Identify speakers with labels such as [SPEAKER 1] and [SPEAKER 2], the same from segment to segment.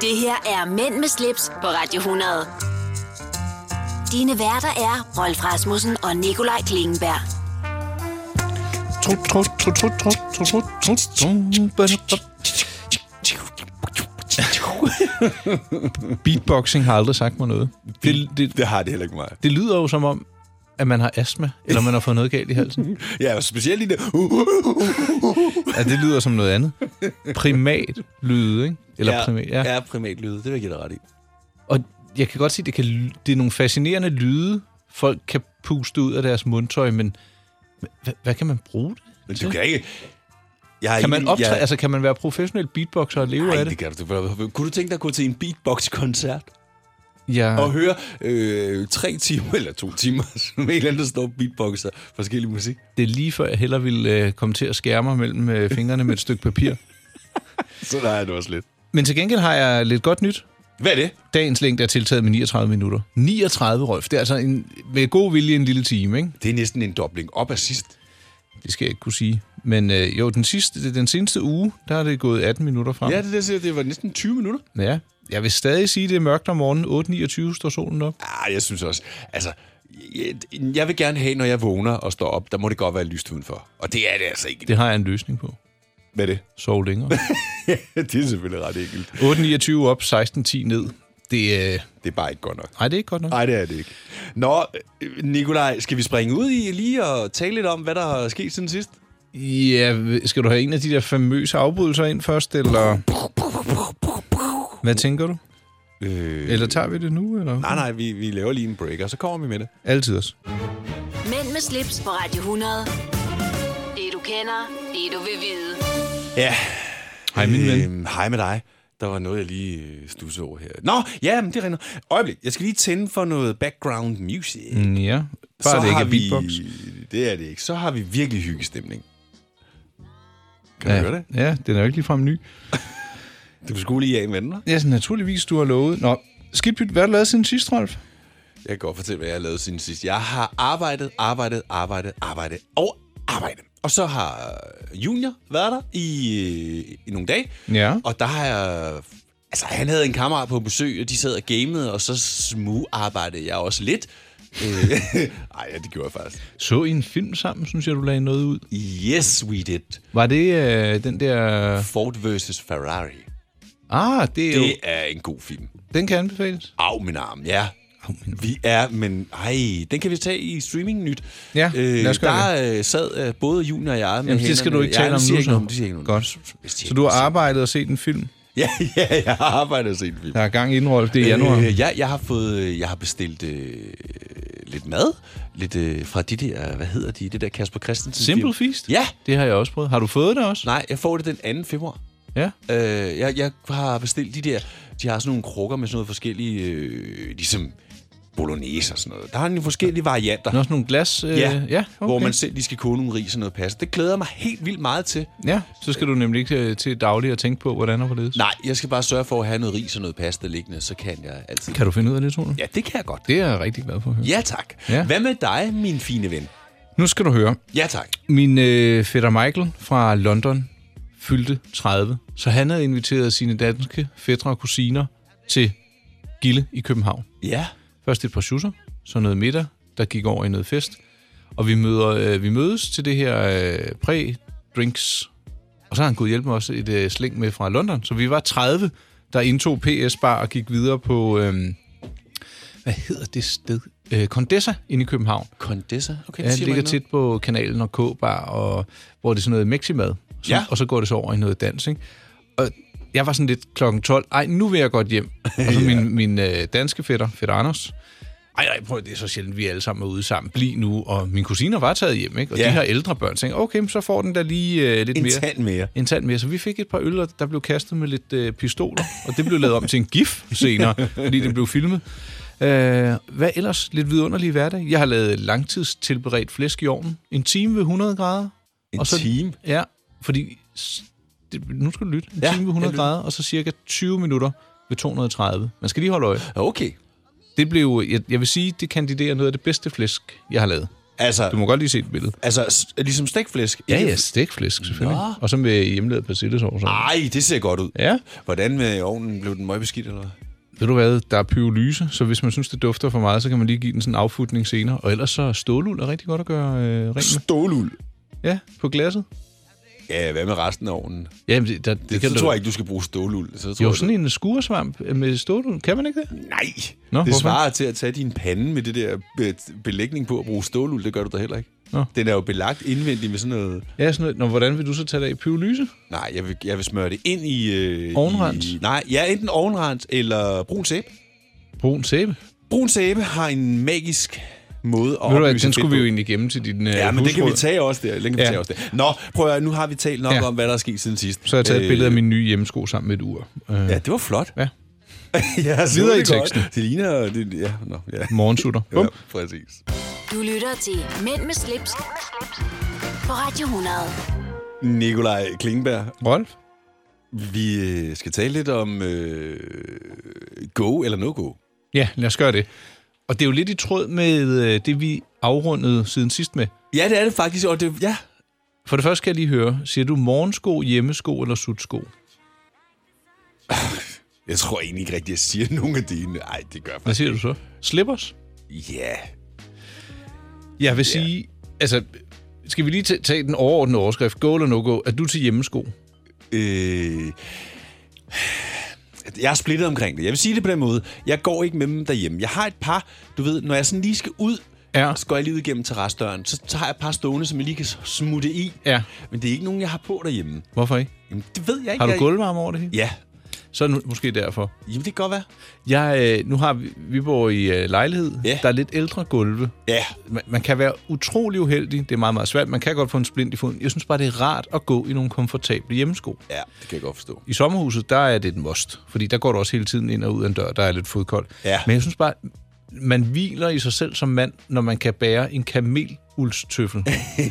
[SPEAKER 1] Det her er Mænd med slips på Radio 100. Dine værter er Rolf Rasmussen og Nikolaj Klingenberg.
[SPEAKER 2] Trut, trut, trut, trut, trut, trut, trut, trut, trut, trut. Beatboxing har aldrig sagt mig noget. Det, det,
[SPEAKER 3] Det har det heller ikke meget.
[SPEAKER 2] det lyder jo som om, at man har astma, eller man har fået noget galt i halsen.
[SPEAKER 3] Ja, og specielt i det. Uh,
[SPEAKER 2] Ja, det lyder som noget andet. Primat lyde, ikke? Eller ja, primat, ja.
[SPEAKER 3] ja primatlyde, det vil jeg give dig ret i.
[SPEAKER 2] Og jeg kan godt se, at det, kan, ly- det er nogle fascinerende lyde, folk kan puste ud af deres mundtøj, men hvad, hvad kan man bruge det?
[SPEAKER 3] Men du kan ikke... Jeg er
[SPEAKER 2] Kan man
[SPEAKER 3] enig-
[SPEAKER 2] optræde,
[SPEAKER 3] jeg-
[SPEAKER 2] altså kan man være professionel beatboxer og leve
[SPEAKER 3] Nej,
[SPEAKER 2] af
[SPEAKER 3] det
[SPEAKER 2] det?
[SPEAKER 3] kan du ikke. Kunne du tænke dig at gå til en beatbox-koncert?
[SPEAKER 2] Ja,
[SPEAKER 3] og høre øh, tre timer eller to timer, som en eller anden, der står og beatboxer forskellig musik.
[SPEAKER 2] det er lige før, jeg hellere ville øh, komme til at skære mig mellem øh, fingrene med et stykke papir.
[SPEAKER 3] Så der er det også lidt.
[SPEAKER 2] Men til gengæld har jeg lidt godt nyt.
[SPEAKER 3] Hvad er det?
[SPEAKER 2] Dagens længde er tiltaget med 39 minutter. 39, Rolf. Det er altså en, med god vilje en lille time, ikke?
[SPEAKER 3] Det er næsten en dobling op af sidst.
[SPEAKER 2] Det skal jeg ikke kunne sige. Men øh, jo, den, sidste, den seneste uge, der er det gået 18 minutter frem.
[SPEAKER 3] Ja, det der siger, det var næsten 20 minutter.
[SPEAKER 2] ja. Jeg vil stadig sige, det er mørkt om morgenen. 8.29 står solen op.
[SPEAKER 3] Ah, jeg synes også, altså, jeg, jeg vil gerne have, når jeg vågner og står op, der må det godt være lyst udenfor. Og det er det altså ikke.
[SPEAKER 2] Det har jeg en løsning på.
[SPEAKER 3] Hvad er det?
[SPEAKER 2] Sov længere.
[SPEAKER 3] det er selvfølgelig ret enkelt.
[SPEAKER 2] 8.29 op, 16.10 ned. Det, øh,
[SPEAKER 3] Det er bare ikke godt nok.
[SPEAKER 2] nej, det er ikke godt nok.
[SPEAKER 3] Nej, det er det ikke. Nå, øh, Nikolaj, skal vi springe ud i lige og tale lidt om, hvad der er sket siden sidst?
[SPEAKER 2] Ja, skal du have en af de der famøse afbrydelser ind først, eller... Hvad tænker du?
[SPEAKER 3] Øh,
[SPEAKER 2] Eller tager vi det nu, eller?
[SPEAKER 3] nej, nej, vi, vi laver lige en break, og så kommer vi med det.
[SPEAKER 2] Altid også.
[SPEAKER 1] Mænd med slips på Radio 100. Det du kender, det du vil vide.
[SPEAKER 3] Ja,
[SPEAKER 2] Hej, min ven.
[SPEAKER 3] Øhm, hej med dig. Der var noget, jeg lige øh, stussede over her. Nå, ja, men det er rigtigt. Øjeblik, jeg skal lige tænde for noget background music. Mm.
[SPEAKER 2] Mm, Ja, bare det ikke er beatbox.
[SPEAKER 3] Det er det ikke. Så har vi virkelig hyggestemning. Kan
[SPEAKER 2] ja.
[SPEAKER 3] du høre det?
[SPEAKER 2] Ja, den er jo ikke ligefrem ny.
[SPEAKER 3] Du skulle lige af med den, hva'?
[SPEAKER 2] Ja, så naturligvis, du har lovet. Nå, skidt pyt, hvad har du lavet siden sidst, Rolf?
[SPEAKER 3] Jeg kan godt fortælle, hvad jeg har lavet siden sidst. Jeg har arbejdet, arbejdet, arbejdet, arbejdet og arbejdet. Og så har øh, Junior været der i, øh, i nogle dage.
[SPEAKER 2] Ja.
[SPEAKER 3] Og der har jeg... Altså, han havde en kammerat på besøg, og de sad og gamede, og så smugarbejdede jeg også lidt. Øh, Ej, ja, det gjorde jeg faktisk.
[SPEAKER 2] Så I en film sammen, synes jeg, du lagde noget ud.
[SPEAKER 3] Yes, we did.
[SPEAKER 2] Var det øh, den der...
[SPEAKER 3] Ford vs. Ferrari.
[SPEAKER 2] Ah, det er jo...
[SPEAKER 3] Det er en god film.
[SPEAKER 2] Den kan anbefales.
[SPEAKER 3] Af min arm, ja.
[SPEAKER 2] min
[SPEAKER 3] Vi er, men ej, den kan vi tage i streaming nyt.
[SPEAKER 2] Ja, lad os gøre
[SPEAKER 3] Der øh, sad øh, både Junior og jeg med
[SPEAKER 2] Jamen, det skal
[SPEAKER 3] hænderne-
[SPEAKER 2] du ikke tale
[SPEAKER 3] Ja,
[SPEAKER 2] om
[SPEAKER 3] de siger
[SPEAKER 2] nu,
[SPEAKER 3] ikke
[SPEAKER 2] så.
[SPEAKER 3] noget om- de siger ikke noget om-
[SPEAKER 2] Godt.
[SPEAKER 3] Hvis de
[SPEAKER 2] Så du har
[SPEAKER 3] ikke-
[SPEAKER 2] arbejdet og set en film?
[SPEAKER 3] Ja, ja, jeg har arbejdet og set en film.
[SPEAKER 2] Der er gang inden, Rolf. Det er januar.
[SPEAKER 3] Øh, jeg, jeg har fået, øh, jeg har bestilt øh, lidt mad, lidt øh, fra de der, hvad hedder de, det der Kasper Christensen
[SPEAKER 2] Simple
[SPEAKER 3] firma.
[SPEAKER 2] Feast?
[SPEAKER 3] Ja,
[SPEAKER 2] Det har jeg også prøvet. Har du fået det også?
[SPEAKER 3] nej, jeg får det den 2. februar.
[SPEAKER 2] Ja.
[SPEAKER 3] Øh, jeg, jeg har bestilt de der, de har sådan nogle krukker med sådan noget forskellige, øh, ligesom bolognese og sådan noget. Der har nogle forskellige varianter.
[SPEAKER 2] Der er også nogle glas... Øh,
[SPEAKER 3] Ja,
[SPEAKER 2] ja okay.
[SPEAKER 3] hvor man selv lige skal koge nogle ris og noget pasta. Det glæder jeg mig helt vildt meget til.
[SPEAKER 2] Ja, så skal du nemlig ikke øh, til daglig at tænke på, hvordan og hvorledes.
[SPEAKER 3] Nej, jeg skal bare sørge for at have noget ris og noget pasta liggende, så kan jeg altid.
[SPEAKER 2] Kan du finde ud af det, Tone?
[SPEAKER 3] Ja, det kan jeg godt.
[SPEAKER 2] Det er jeg rigtig glad for at høre.
[SPEAKER 3] Ja, tak.
[SPEAKER 2] Ja.
[SPEAKER 3] Hvad med dig, min fine ven?
[SPEAKER 2] Nu skal du høre.
[SPEAKER 3] Ja, tak.
[SPEAKER 2] Min øh, fætter Michael fra London fyldte 30, så han havde inviteret sine danske fætter og kusiner til Gille i København.
[SPEAKER 3] Ja.
[SPEAKER 2] Først et par schusser, så noget middag, der gik over i noget fest. Og vi, møder, øh, vi mødes til det her øh, præ-drinks. Og så har han gået hjælpe mig også et øh, sling med fra London. Så vi var 30, der indtog PS-bar og gik videre på, øh, hvad hedder det sted? Øh, Condessa inde i København.
[SPEAKER 3] Condessa?
[SPEAKER 2] Ja,
[SPEAKER 3] Okay, det
[SPEAKER 2] det
[SPEAKER 3] siger mig
[SPEAKER 2] ligger
[SPEAKER 3] ikke
[SPEAKER 2] tit på kanalen og K-bar, og, hvor det er sådan noget meximad. Så,
[SPEAKER 3] Ja.
[SPEAKER 2] Og så går det så over i noget dans, ikke? Og jeg var sådan lidt klokken 12. Ej, nu vil jeg godt hjem. Og så min, min øh, danske fætter, fætter Anders. Ej, nej, prøv at- det er så sjældent, vi alle sammen er ude sammen. Bliv nu. Og mine kusiner var taget hjem, ikke? Og
[SPEAKER 3] Ja.
[SPEAKER 2] de her ældre børn tænkte, okay, men så får den da lige øh, lidt
[SPEAKER 3] noget.
[SPEAKER 2] mere.
[SPEAKER 3] En tand mere.
[SPEAKER 2] En tand mere. Så vi fik et par øl, og der blev kastet med lidt øh, pistoler. Og det blev lavet om til en gif senere, fordi det blev filmet. Øh, hvad ellers? Lidt vidunderlig hverdag. Jeg har lavet langtidstilberedt flæsk i ovnen. En time ved 100 grader.
[SPEAKER 3] En
[SPEAKER 2] Og så-
[SPEAKER 3] time.
[SPEAKER 2] Ja, fordi... s- Det, nu skal du lytte. En
[SPEAKER 3] Ja,
[SPEAKER 2] ja, time ved
[SPEAKER 3] jeg
[SPEAKER 2] 100
[SPEAKER 3] lytter.
[SPEAKER 2] grader, og så cirka 20 minutter ved 230. Man skal lige holde øje.
[SPEAKER 3] Okay.
[SPEAKER 2] Det blev, jeg, jeg vil sige, det kandiderer noget af det bedste flæsk, jeg har lavet.
[SPEAKER 3] Altså,
[SPEAKER 2] Du må godt lige se et billede.
[SPEAKER 3] altså s- ligesom stikflæsk.
[SPEAKER 2] Ja, ja, stikflæsk selvfølgelig.
[SPEAKER 3] Nå.
[SPEAKER 2] Og så med hjemmelavet persillesovs. over.
[SPEAKER 3] Ej, det ser godt ud.
[SPEAKER 2] Ja.
[SPEAKER 3] Hvordan med ovnen? Blev den møgbeskidt, eller hvad?
[SPEAKER 2] Ved du hvad, der er pyrolyse, så hvis man synes, det dufter for meget, så kan man lige give den sådan en affutning senere. Og ellers så er ståluld er rigtig godt at gøre øh, rent med.
[SPEAKER 3] Stålul.
[SPEAKER 2] Ja, på glasset.
[SPEAKER 3] Ja, hvad med resten af ovnen? Det,
[SPEAKER 2] Jamen, det, der, det,
[SPEAKER 3] det
[SPEAKER 2] kan
[SPEAKER 3] så
[SPEAKER 2] du-
[SPEAKER 3] tror jeg ikke, du skal bruge stålul. Så tror
[SPEAKER 2] Jo,
[SPEAKER 3] jeg,
[SPEAKER 2] sådan en skuresvamp øh, med ståluld. Kan man ikke det?
[SPEAKER 3] Nej,
[SPEAKER 2] Nå,
[SPEAKER 3] Nå, det
[SPEAKER 2] hvorfor?
[SPEAKER 3] svarer til at tage din pande med det der be- belægning på at bruge stålul. Det gør du da heller ikke.
[SPEAKER 2] Nå.
[SPEAKER 3] Den er jo belagt indvendigt med sådan noget...
[SPEAKER 2] Ja, sådan noget. Nå, hvordan vil du så tage det af? Pyrolyse?
[SPEAKER 3] Nej, jeg vil, jeg vil smøre det ind i... Øh,
[SPEAKER 2] Ovnrens?
[SPEAKER 3] I, nej, ja, enten ovnrens eller brun sæbe.
[SPEAKER 2] Brun sæbe?
[SPEAKER 3] Brun sæbe har en magisk måde at
[SPEAKER 2] Ved du hvad,
[SPEAKER 3] opløse
[SPEAKER 2] den skulle vi jo
[SPEAKER 3] fedt på.
[SPEAKER 2] egentlig gemme til din øh,
[SPEAKER 3] Ja, men det kan vi
[SPEAKER 2] husråd.
[SPEAKER 3] tage også der. Den kan vi
[SPEAKER 2] Ja.
[SPEAKER 3] tage også der. Nå, prøv at høre, nu har vi talt nok
[SPEAKER 2] Ja.
[SPEAKER 3] ja. om, hvad der er sket siden sidst.
[SPEAKER 2] Så har jeg taget et
[SPEAKER 3] Øh,
[SPEAKER 2] billede af min nye hjemmesko sammen med et ur. Øh,
[SPEAKER 3] Ja, det var flot.
[SPEAKER 2] Ja.
[SPEAKER 3] ja, så
[SPEAKER 2] Videre
[SPEAKER 3] det
[SPEAKER 2] i
[SPEAKER 3] godt.
[SPEAKER 2] teksten.
[SPEAKER 3] Det ligner... Det, ja, nå, ja.
[SPEAKER 2] Morgensutter. Bum.
[SPEAKER 3] ja, præcis.
[SPEAKER 1] Du lytter til Mænd med slips, Mænd med slips. på Radio 100.
[SPEAKER 3] Nikolaj Klingberg,
[SPEAKER 2] Rolf?
[SPEAKER 3] Vi øh, skal tale lidt om øh, go eller no-go.
[SPEAKER 2] Ja, lad os gøre det. Og det er jo lidt i tråd med øh, det, vi afrundede siden sidst med.
[SPEAKER 3] Ja, det er det faktisk. Og det, ja.
[SPEAKER 2] For det første skal jeg lige høre, siger du morgensko, hjemmesko eller sutsko?
[SPEAKER 3] Jeg tror egentlig ikke rigtigt, jeg siger nogen af dine. Nej, det gør jeg
[SPEAKER 2] Hvad
[SPEAKER 3] faktisk.
[SPEAKER 2] siger du så? Slippers?
[SPEAKER 3] Ja.
[SPEAKER 2] Jeg vil sige, altså, skal vi lige ta- tage den overordnede overskrift, go eller no-go, er du til hjemmesko?
[SPEAKER 3] Øh, jeg er splittet omkring det. Jeg vil sige det på den måde. Jeg går ikke med dem derhjemme. Jeg har et par, du ved, når jeg sådan lige skal ud,
[SPEAKER 2] Ja.
[SPEAKER 3] så går jeg lige ud igennem terrassedøren. Så tager jeg et par stående, som jeg lige kan smutte i.
[SPEAKER 2] Ja.
[SPEAKER 3] Men det er ikke nogen, jeg har på derhjemme.
[SPEAKER 2] Hvorfor ikke?
[SPEAKER 3] Jamen, det ved jeg ikke.
[SPEAKER 2] Har du
[SPEAKER 3] jeg...
[SPEAKER 2] gulvvarme over det hele?
[SPEAKER 3] Ja.
[SPEAKER 2] Så er det nu- måske derfor.
[SPEAKER 3] Jamen, det kan godt være.
[SPEAKER 2] Jeg, øh, nu har vi, vi bor i øh, lejlighed,
[SPEAKER 3] Ja.
[SPEAKER 2] der er lidt ældre gulve.
[SPEAKER 3] Ja.
[SPEAKER 2] Man, man kan være utrolig uheldig, det er meget, meget svært. Man kan godt få en splint i foden. Jeg synes bare, det er rart at gå i nogle komfortable hjemmesko.
[SPEAKER 3] Ja, det kan jeg godt forstå.
[SPEAKER 2] I sommerhuset, der er det et must, fordi der går du også hele tiden ind og ud af en dør, der er lidt fodkoldt.
[SPEAKER 3] Ja.
[SPEAKER 2] Men jeg synes bare, man hviler i sig selv som mand, når man kan bære en kameluldstøffel.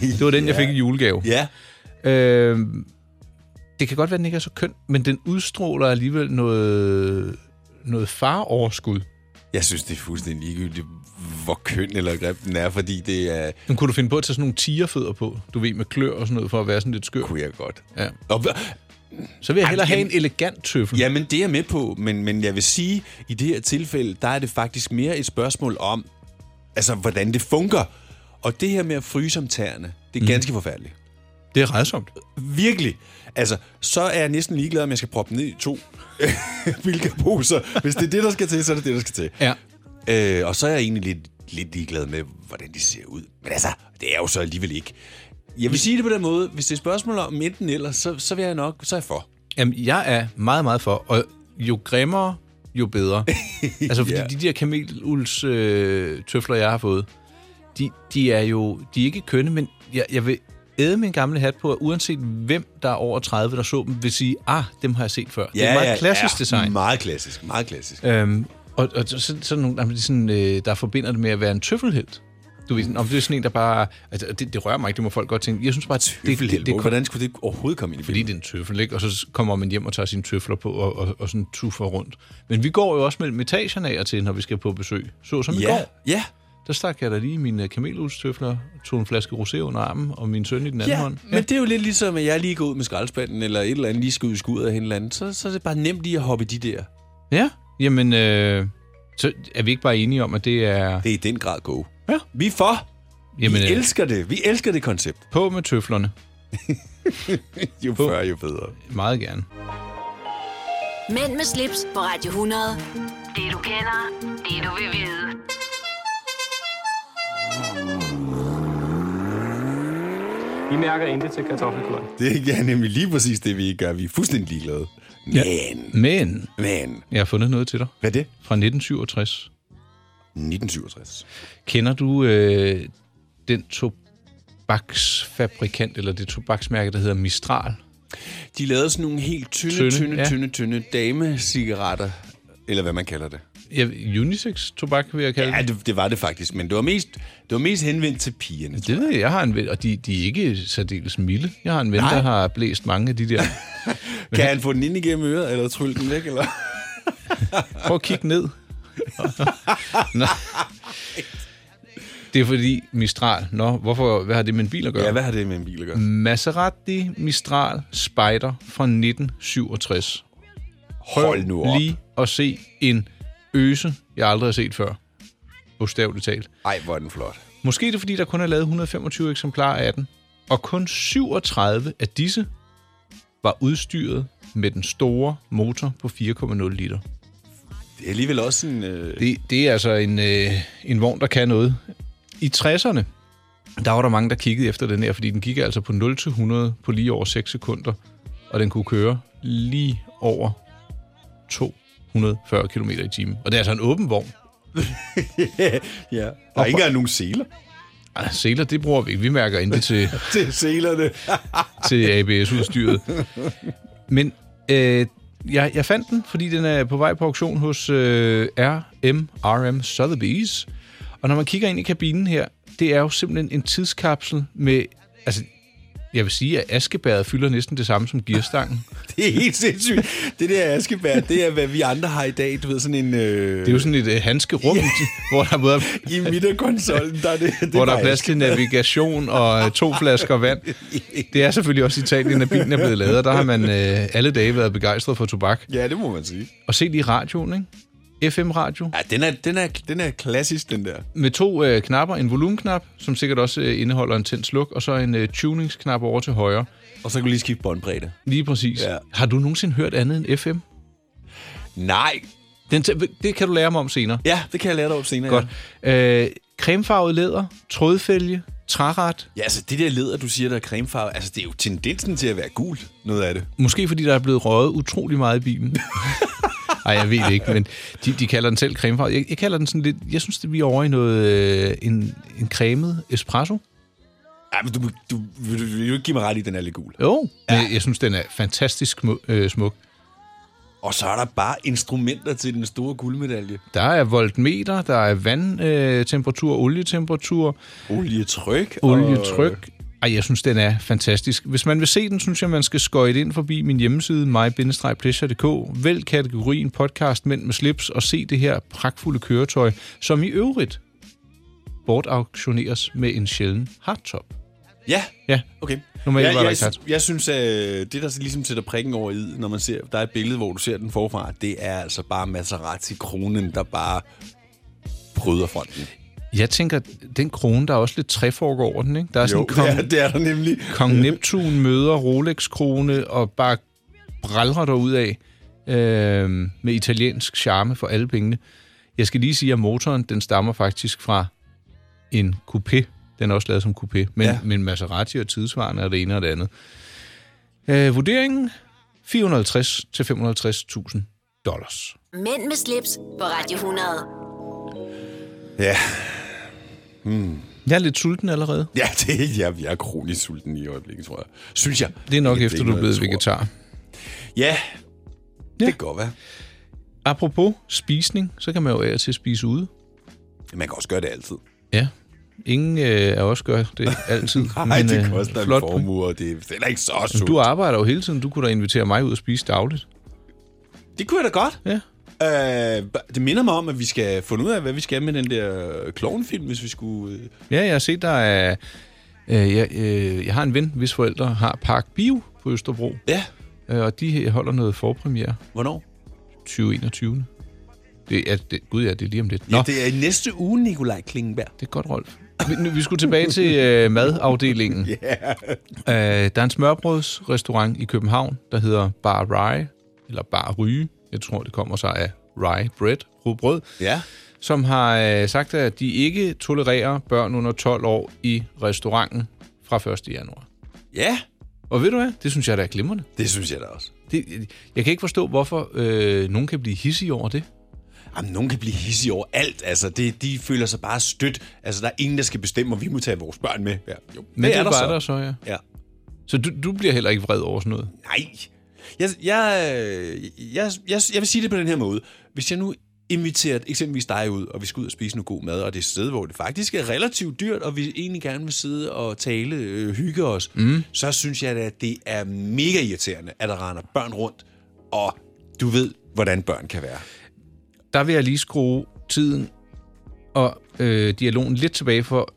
[SPEAKER 2] Det var den, jeg fik i julegave.
[SPEAKER 3] Ja.
[SPEAKER 2] Øh, det kan godt være, den ikke er så køn, men den udstråler alligevel noget, noget faroverskud.
[SPEAKER 3] Jeg synes, det er fuldstændig ligegyldigt, hvor køn eller grim den er, fordi det er...
[SPEAKER 2] Men kunne du finde på at tage sådan nogle tigerfødder på, du ved, med klør og sådan noget, for at være sådan lidt skør?
[SPEAKER 3] kunne jeg godt.
[SPEAKER 2] Ja.
[SPEAKER 3] Og,
[SPEAKER 2] Så vil jeg hellere have en
[SPEAKER 3] jamen-
[SPEAKER 2] elegant tøffel.
[SPEAKER 3] jamen, det er jeg med på, men, men jeg vil sige, i det her tilfælde, der er det faktisk mere et spørgsmål om, altså, hvordan det fungerer. Og det her med at fryse om tæerne, det er ganske forfærdeligt.
[SPEAKER 2] Det er redsomt.
[SPEAKER 3] Virkelig. Altså, så er jeg næsten ligeglad, om jeg skal proppe den ned i to bilkaposer. Hvis det er det, der skal til, så er det det, der skal til.
[SPEAKER 2] Ja.
[SPEAKER 3] Øh, og så er jeg egentlig lidt, lidt ligeglad med, hvordan de ser ud. Men altså, det er jo så alligevel ikke. Jeg vil sige det på den måde, hvis det er et spørgsmål om enten eller, så, så vil jeg nok, så er jeg for.
[SPEAKER 2] Jamen, jeg er meget, meget for, og jo grimmere, jo bedre. altså, fordi
[SPEAKER 3] Ja.
[SPEAKER 2] de der kamelulds øh, tøfler, jeg har fået, de, de er jo de er ikke kønne, men jeg, jeg vil æde min gamle hat på, at uanset hvem, der er over 30, der så dem, vil sige, ah, dem har jeg set før. det er meget klassisk design.
[SPEAKER 3] Meget klassisk, meget klassisk.
[SPEAKER 2] Øhm, og, og så- så, sådan nogle, jamen, de sådan, øh, der forbinder det med at være en tøffelhelt. Du ved, sådan, om det er sådan en, der bare... Altså, det, det rører mig ikke, det må folk godt tænke. Jeg synes bare, at det, det, det, det,
[SPEAKER 3] hvordan skulle det overhovedet komme ind i
[SPEAKER 2] fordi det er en tøffel, ikke? Og så kommer man hjem og tager sine tøfler på og, og, og sådan tuffer rundt. Men vi går jo også mellem etagerne af og til, når vi skal på besøg. Så som i
[SPEAKER 3] Ja,
[SPEAKER 2] går,
[SPEAKER 3] ja,
[SPEAKER 2] der stak jeg da lige mine kamelhudstøfler, tog en flaske rosé under armen og min søn i den anden
[SPEAKER 3] ja,
[SPEAKER 2] hånd.
[SPEAKER 3] men det er jo lidt ligesom, at jeg lige går ud med skraldespanden, eller et eller andet lige skal ud i skuret af en eller anden, så, så er det bare nemt lige at hoppe i de der.
[SPEAKER 2] ja, jamen, øh, så er vi ikke bare enige om, at det er...
[SPEAKER 3] Det er i den grad go.
[SPEAKER 2] Ja.
[SPEAKER 3] Vi er for.
[SPEAKER 2] Jamen,
[SPEAKER 3] vi
[SPEAKER 2] øh,
[SPEAKER 3] elsker det. Vi elsker det koncept.
[SPEAKER 2] på med tøflerne.
[SPEAKER 3] Jo før, jo bedre.
[SPEAKER 2] Meget gerne.
[SPEAKER 1] Mænd med slips på Radio 100. Det du kender, det du vil vide.
[SPEAKER 4] Vi mærker intet til kartoffelkuren.
[SPEAKER 3] Det er nemlig lige præcis det, vi gør. Vi er fuldstændig ligeglade. Men,
[SPEAKER 2] Men
[SPEAKER 3] men.
[SPEAKER 2] jeg har fundet noget til dig
[SPEAKER 3] Hvad er det?
[SPEAKER 2] fra 1967.
[SPEAKER 3] 1967.
[SPEAKER 2] Kender du øh, den tobaksfabrikant, eller det tobaksmærke, der hedder Mistral?
[SPEAKER 3] De lavede sådan nogle helt tynde,
[SPEAKER 2] Tynde,
[SPEAKER 3] tynde, tynde,
[SPEAKER 2] ja.
[SPEAKER 3] ja. tynde, tynde damecigaretter. Eller hvad man kalder det.
[SPEAKER 2] Ja, unisex-tobak, vil jeg kalde
[SPEAKER 3] Ja, det, det var det faktisk. Men det var mest, det var mest henvendt til pigerne.
[SPEAKER 2] det. Det ved jeg, jeg har en ven, og de, de er ikke særdeles milde. Jeg har en ven,
[SPEAKER 3] Nej.
[SPEAKER 2] der har blæst mange af de der.
[SPEAKER 3] Kan han få den ind igennem øret, eller trylle den væk? Eller?
[SPEAKER 2] Prøv at kigge ned. Nå. Det er fordi Mistral. Nå, hvorfor, hvad har det med en bil at gøre?
[SPEAKER 3] Ja, hvad har det med en bil at gøre?
[SPEAKER 2] Mm. Maserati Mistral Spider fra 1967.
[SPEAKER 3] Hold nu op.
[SPEAKER 2] Lige at se en øse, jeg aldrig har set før. Bogstaveligt talt.
[SPEAKER 3] Ej, hvor er den flot.
[SPEAKER 2] Måske er det, fordi der kun er lavet 125 eksemplarer af den, og kun 37 af disse var udstyret med den store motor på 4,0 liter.
[SPEAKER 3] Det er alligevel også en... Øh...
[SPEAKER 2] Det, det er altså en, øh, en vogn, der kan noget. I 60'erne, der var der mange, der kiggede efter den her, fordi den gik altså på 0-100 på lige over 6 sekunder, og den kunne køre lige over 240 km i timen. Og det er altså en åben vogn.
[SPEAKER 3] ja. Der er ikke engang nogen seler.
[SPEAKER 2] Ej, seler, Altså, det bruger vi ikke. Vi mærker ikke til,
[SPEAKER 3] Det er selerne.
[SPEAKER 2] til ABS-udstyret. Men øh, jeg, jeg fandt den, fordi den er på vej på auktion hos øh, RMRM Sotheby's. Og når man kigger ind i kabinen her, det er jo simpelthen en tidskapsel med... Altså, jeg vil sige, at askebæret fylder næsten det samme som gearstangen.
[SPEAKER 3] det er helt sindssygt. Det der askebær, det er, hvad vi andre har i dag. Du ved, sådan en... Øh...
[SPEAKER 2] Det er jo sådan et øh, handskerum, hvor der både er,
[SPEAKER 3] I midterkonsollen, der er det... det
[SPEAKER 2] hvor der er
[SPEAKER 3] bare
[SPEAKER 2] plads til navigation og øh, to flasker vand. Det er selvfølgelig også Italien, at bilen er blevet lavet, og der har man øh, alle dage været begejstret for tobak.
[SPEAKER 3] aske. Ja, det må man sige.
[SPEAKER 2] Og se det i radioen, ikke? FM-radio.
[SPEAKER 3] Ja, den er, den er, den er klassisk, den der.
[SPEAKER 2] Med to øh, knapper. En volumenknap, som sikkert også øh, indeholder en tændt sluk, og så en øh, tuningsknap over til højre.
[SPEAKER 3] Og så kan du lige skifte båndbredde.
[SPEAKER 2] Lige præcis.
[SPEAKER 3] Ja.
[SPEAKER 2] Ja. Har du nogensinde hørt andet end FM?
[SPEAKER 3] Nej.
[SPEAKER 2] Den tæ- det kan du lære mig om senere.
[SPEAKER 3] Ja, det kan jeg lære dig op senere.
[SPEAKER 2] Godt. Øh, cremefarvet læder, trådfælge, træret.
[SPEAKER 3] Ja, altså det der leder, du siger, der er cremefarve, altså det er jo tendensen til at være gul, noget af det.
[SPEAKER 2] Måske fordi der er blevet røget utrolig meget i bilen. Nej, jeg ved det ikke, men de, de kalder den selv cremefarvet. Jeg, jeg kalder den sådan lidt... Jeg synes, det vi er over i noget... Øh, en, en cremet espresso.
[SPEAKER 3] Ja, men du, du, vil, du, vil du ikke give mig ret i, at den er lidt gul.
[SPEAKER 2] Jo, ja. men jeg synes, den er fantastisk smu- øh, smuk.
[SPEAKER 3] Og så er der bare instrumenter til den store guldmedalje.
[SPEAKER 2] Der er voltmeter, der er vandtemperatur, olietemperatur,
[SPEAKER 3] Olietryk.
[SPEAKER 2] olietryk. Ej, jeg synes, den er fantastisk. Hvis man vil se den, synes jeg, man skal skøjte ind forbi min hjemmeside, my-pleasure.dk. Vælg kategorien podcast Mænd med slips og se det her pragtfulde køretøj, som i øvrigt bortauktioneres med en sjælden hardtop.
[SPEAKER 3] Og, ja,
[SPEAKER 2] Ja,
[SPEAKER 3] okay.
[SPEAKER 2] Normalt var
[SPEAKER 3] jeg,
[SPEAKER 2] der
[SPEAKER 3] jeg,
[SPEAKER 2] ikke hat.
[SPEAKER 3] sy- jeg synes, at det, der ligesom sætter prikken over i, når man ser, der er et billede, hvor du ser den forfra, det er altså bare Maserati-kronen, der bare bryder fronten.
[SPEAKER 2] Jeg tænker, den krone, der er også lidt træfork over den, ikke? Der er sådan en
[SPEAKER 3] det
[SPEAKER 2] kong,
[SPEAKER 3] er, det er der nemlig.
[SPEAKER 2] Kong Neptun møder Rolex-krone og bare bralrer derud af øh, med italiensk charme for alle pengene. Jeg skal lige sige, at motoren den stammer faktisk fra en coupé. Den er også lavet som coupé, men,
[SPEAKER 3] Ja.
[SPEAKER 2] ja. men Maserati og tidsvarende er det ene og det andet. Øh, vurderingen? 450-550.000 dollars.
[SPEAKER 1] Mænd med slips på Radio 100.
[SPEAKER 3] Ja,
[SPEAKER 2] Jeg er lidt sulten allerede.
[SPEAKER 3] ja det, jeg, jeg er kronisk sulten i øjeblikket, tror jeg. Synes jeg.
[SPEAKER 2] Det er nok
[SPEAKER 3] Ikke
[SPEAKER 2] efter,
[SPEAKER 3] det,
[SPEAKER 2] du er
[SPEAKER 3] jeg
[SPEAKER 2] blevet
[SPEAKER 3] tror.
[SPEAKER 2] vegetar.
[SPEAKER 3] Ja,
[SPEAKER 2] Ja.
[SPEAKER 3] det kan godt være.
[SPEAKER 2] Apropos spisning, så kan man jo af og til spise ude.
[SPEAKER 3] Man kan også gøre det altid.
[SPEAKER 2] Ja. Ingen øh, af os gør det altid.
[SPEAKER 3] Nej,
[SPEAKER 2] men,
[SPEAKER 3] det
[SPEAKER 2] øh,
[SPEAKER 3] koster en
[SPEAKER 2] flot point.
[SPEAKER 3] formue, og det er heller ikke så
[SPEAKER 2] Men
[SPEAKER 3] sundt.
[SPEAKER 2] Du arbejder jo hele tiden. Du kunne da invitere mig ud og spise dagligt.
[SPEAKER 3] Det kunne jeg da godt.
[SPEAKER 2] Ja.
[SPEAKER 3] Øh, det minder mig om, at vi skal finde ud af, hvad vi skal med den der klovnfilm, hvis vi skulle... øh,
[SPEAKER 2] Ja, jeg har set, der er... Øh, jeg, øh, jeg har en ven, hvis forældre har Park Bio på Østerbro,
[SPEAKER 3] Ja,
[SPEAKER 2] øh, og de holder noget forpremiere
[SPEAKER 3] hvornår?
[SPEAKER 2] 2021. Det er, det, gud ja, det er lige om lidt. Nå,
[SPEAKER 3] Ja,
[SPEAKER 2] det...
[SPEAKER 3] det er i næste uge, Nikolaj Klingenberg.
[SPEAKER 2] det er godt, Rolf. Vi, nu- vi skulle tilbage til øh, madafdelingen. Yeah. Øh, der er en smørbrødsrestaurant i København, der hedder Bar Rye, eller Bar Ryge. Jeg tror, det kommer sig af rye bread, rugbrød.
[SPEAKER 3] Ja.
[SPEAKER 2] som har øh, sagt, at de ikke tolererer børn under 12 år i restauranten fra 1. januar.
[SPEAKER 3] Ja,
[SPEAKER 2] Og ved du hvad? Det synes jeg, der er glimrende.
[SPEAKER 3] det synes jeg da også.
[SPEAKER 2] Det, jeg kan ikke forstå, hvorfor øh, nogen kan blive hissige over det.
[SPEAKER 3] Jamen, nogen kan blive hissige over alt. Altså, det, de føler sig bare stødt. Altså, der er ingen, der skal bestemme, om vi må tage vores børn med. Ja, jo.
[SPEAKER 2] Men det, er
[SPEAKER 3] der
[SPEAKER 2] bare
[SPEAKER 3] så.
[SPEAKER 2] der så, ja.
[SPEAKER 3] Ja.
[SPEAKER 2] Så du, du bliver heller ikke vred over sådan noget.
[SPEAKER 3] Nej. Jeg, jeg, øh, jeg, jeg, jeg vil sige det på den her måde. Hvis jeg nu inviterer eksempelvis dig ud, og vi skal ud og spise noget god mad, og det er et sted, hvor det faktisk er relativt dyrt, og vi egentlig gerne vil sidde og tale, øh, hygge os, mm. så synes jeg, da, at det er mega irriterende, at der render børn rundt, og du ved, hvordan børn kan være.
[SPEAKER 2] Der vil jeg lige skrue tiden og øh, dialogen lidt tilbage, for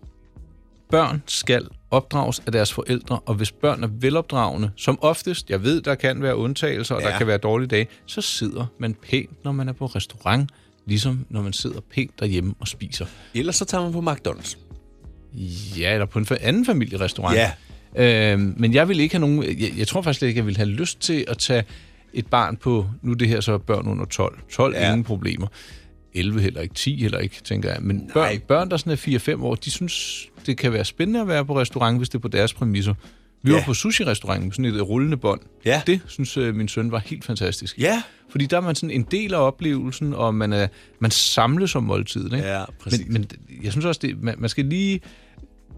[SPEAKER 2] børn skal opdrages af deres forældre, og hvis børn er velopdragende, som oftest, jeg ved, der kan være undtagelser, og ja. der
[SPEAKER 3] Ja.
[SPEAKER 2] kan være dårlige dage, så sidder man pænt, når man er på restaurant, ligesom når man sidder pænt derhjemme og spiser.
[SPEAKER 3] Ellers så tager man på McDonald's.
[SPEAKER 2] Ja, eller på en fa- anden familierestaurant.
[SPEAKER 3] Ja.
[SPEAKER 2] Øhm, men jeg vil ikke have nogen... Jeg, jeg tror faktisk ikke, jeg vil have lyst til at tage et barn på... Nu er det her så børn under 12. 12, ja.
[SPEAKER 3] Ja.
[SPEAKER 2] ingen problemer. 11 heller ikke, 10 heller ikke, tænker jeg. Men børn, børn, der sådan er 4-5 år, de synes, det kan være spændende at være på restaurant, hvis det er på deres præmisser. Vi ja.
[SPEAKER 3] Ja.
[SPEAKER 2] var på sushi-restauranten, sådan et rullende bånd.
[SPEAKER 3] Ja.
[SPEAKER 2] Det synes øh, min søn var helt fantastisk.
[SPEAKER 3] Ja.
[SPEAKER 2] Fordi der er man sådan en del af oplevelsen, og man, er, man samles om måltiden. Ikke?
[SPEAKER 3] Ja, præcis.
[SPEAKER 2] Men, men jeg synes også, det, man, man skal lige...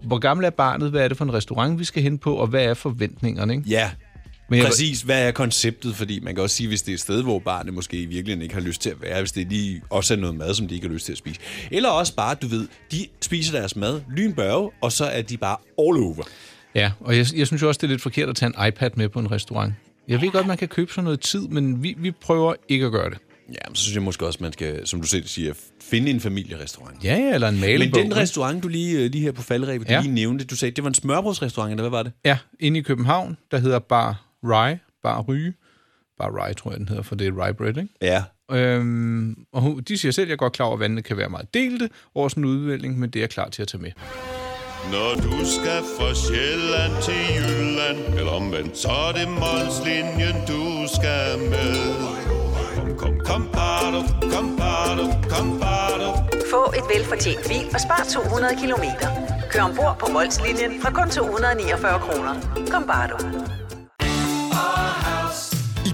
[SPEAKER 2] Hvor gammel er barnet? Hvad er det for en restaurant, vi skal hen på? Og hvad er forventningerne? Ikke?
[SPEAKER 3] Ja,
[SPEAKER 2] Men jeg,
[SPEAKER 3] præcis. Hvad er konceptet? Fordi man kan også sige, hvis det er et sted, hvor barnet måske i virkeligheden ikke har lyst til at være, hvis det lige også er noget mad, som de ikke har lyst til at spise. Eller også bare, du ved, de spiser deres mad lynbørge, og så er de bare all over.
[SPEAKER 2] Ja, og jeg, jeg synes jo også, det er lidt forkert at tage en iPad med på en restaurant. Jeg ved godt, man kan købe sådan noget tid, men vi, vi prøver ikke at gøre det.
[SPEAKER 3] Ja, men så synes jeg måske også, man skal, som du selv siger, finde en familierestaurant.
[SPEAKER 2] Ja, ja, eller en
[SPEAKER 3] Men
[SPEAKER 2] malebog.
[SPEAKER 3] den restaurant, du lige, øh, lige her på faldrebet, du
[SPEAKER 2] Ja.
[SPEAKER 3] ja. lige nævnte, du sagde, det var en smørbrødsrestaurant, eller hvad var det?
[SPEAKER 2] Ja, inde i København, der hedder Bar Rye. Bar Ryge. Bar Rye, tror jeg, den hedder, for det er rye bread, ikke?
[SPEAKER 3] Ja.
[SPEAKER 2] Øhm, og hun- de siger selv, at jeg er godt klar over, at vandene kan være meget delte over sådan en udvælgning, men det er jeg klar til at tage med.
[SPEAKER 5] Når du skal fra Sjælland til Jylland Eller omvendt, så er det Molslinjen, du skal med Kom, kom, kom, bado, kom, bado, kom, bado.
[SPEAKER 6] Få et velfortjent bil og spar 200 kilometer. Kør ombord på Molslinjen fra kun 249 kroner. Kom bare du.
[SPEAKER 7] I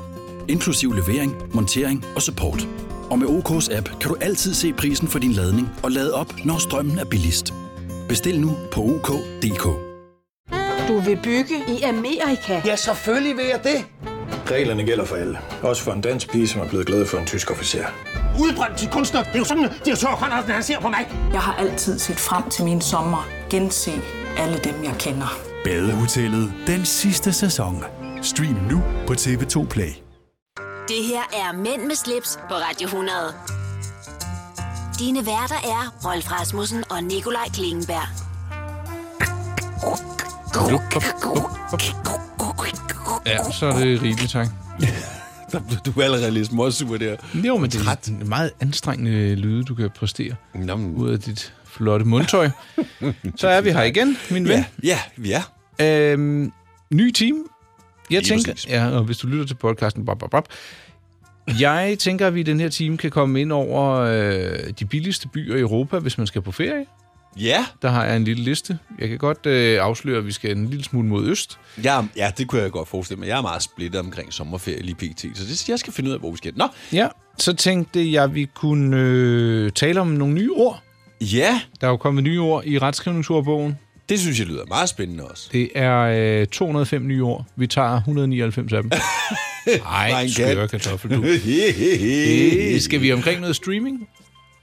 [SPEAKER 8] inklusiv levering, montering og support. Og med OK's app kan du altid se prisen for din ladning og lade op, når strømmen er billigst. Bestil nu på OK.dk.
[SPEAKER 9] Du vil bygge i Amerika?
[SPEAKER 10] Ja, selvfølgelig vil jeg det.
[SPEAKER 11] Reglerne gælder for alle. Også for en dansk pige, som er blevet glad for en tysk officer.
[SPEAKER 10] Udbrændt til kunstner. Det er jo sådan, at de har tørt hånden, han ser på mig.
[SPEAKER 6] Jeg har altid set frem til min sommer. Gense alle dem, jeg kender.
[SPEAKER 11] Badehotellet. Den sidste sæson. Stream nu på TV2 Play.
[SPEAKER 1] Det her er Mænd med slips på Radio 100. Dine værter er Rolf Rasmussen og Nikolaj Klingenberg.
[SPEAKER 2] Ja, så er det rigeligt, tak.
[SPEAKER 3] Der- Du er allerede lidt småsur der.
[SPEAKER 2] Jo, men det er en meget anstrengende øh, lyde, du kan præstere
[SPEAKER 3] Nå, men-
[SPEAKER 2] ud af dit flotte mundtøj. så er vi her igen, min ven.
[SPEAKER 3] Ja, ja, ja.
[SPEAKER 2] Ja. Øhm, ny team. Jeg
[SPEAKER 3] Lige
[SPEAKER 2] tænker,
[SPEAKER 3] præcis.
[SPEAKER 2] ja, og hvis du lytter til podcasten, bop, bop, bop. Jeg tænker, at vi i den her time kan komme ind over øh, de billigste byer i Europa, hvis man skal på ferie.
[SPEAKER 3] Ja,
[SPEAKER 2] Der har jeg en lille liste. Jeg kan godt øh, afsløre, at vi skal en lille smule mod øst.
[SPEAKER 3] ja, ja, det kunne jeg godt forestille mig. Jeg er meget splittet omkring sommerferie lige pt. Så det, jeg skal finde ud af, hvor vi skal. Nå,
[SPEAKER 2] Ja, så tænkte jeg, at vi kunne øh, tale om nogle nye ord.
[SPEAKER 3] ja,
[SPEAKER 2] Der er jo kommet nye ord i retskrivningsordbogen.
[SPEAKER 3] det synes jeg lyder meget spændende også.
[SPEAKER 2] Det er øh, 205 nye ord. Vi tager 199 af dem. Nej,
[SPEAKER 3] Mein
[SPEAKER 2] skøre
[SPEAKER 3] Gott.
[SPEAKER 2] kartoffel, du.
[SPEAKER 3] Hehehe.
[SPEAKER 2] Øh, Skal vi omkring noget streaming?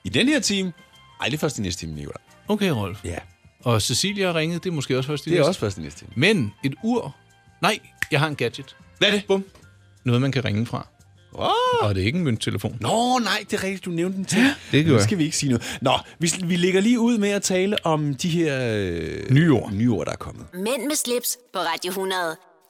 [SPEAKER 3] I den her time... Ej, det er først i næste time, Nicolaj.
[SPEAKER 2] Okay, Rolf.
[SPEAKER 3] Ja.
[SPEAKER 2] Og Cecilia har ringet. Det er måske også først i
[SPEAKER 3] Det er
[SPEAKER 2] næste.
[SPEAKER 3] også først i næste time.
[SPEAKER 2] Men et ur? Nej, jeg har en gadget.
[SPEAKER 3] Hvad er det? Bum.
[SPEAKER 2] Noget, man kan ringe fra.
[SPEAKER 3] Oh.
[SPEAKER 2] Og det er ikke en mønttelefon.
[SPEAKER 3] Nå, nej, det er rigtigt, du nævnte den til.
[SPEAKER 2] det gjorde
[SPEAKER 3] Nu
[SPEAKER 2] jeg.
[SPEAKER 3] skal vi ikke sige noget. Nå, vi, vi ligger lige ud med at tale om de her øh,
[SPEAKER 2] Nye ord.
[SPEAKER 3] nye ord, der er kommet.
[SPEAKER 1] Mænd med slips på Radio 100.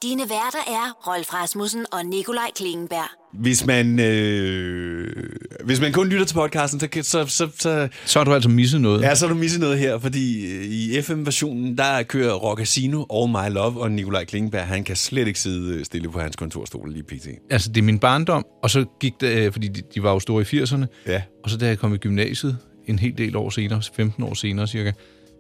[SPEAKER 1] Dine værter er Rolf Rasmussen og Nikolaj Klingenberg.
[SPEAKER 3] Hvis man, øh, hvis man kun lytter til podcasten, så, kan- så, så, så,
[SPEAKER 2] Så har du altså misset noget.
[SPEAKER 3] ja, så har du misset noget her, fordi øh, i FM-versionen, der kører Rockasino, All My Love, og Nikolaj Klingberg, han kan slet ikke sidde øh, stille på hans kontorstol lige pt.
[SPEAKER 2] Altså, det er min barndom, og så gik det, øh, fordi de, de var jo store i 80'erne,
[SPEAKER 3] Ja.
[SPEAKER 2] og så da jeg kom i gymnasiet, en hel del år senere, 15 år senere cirka,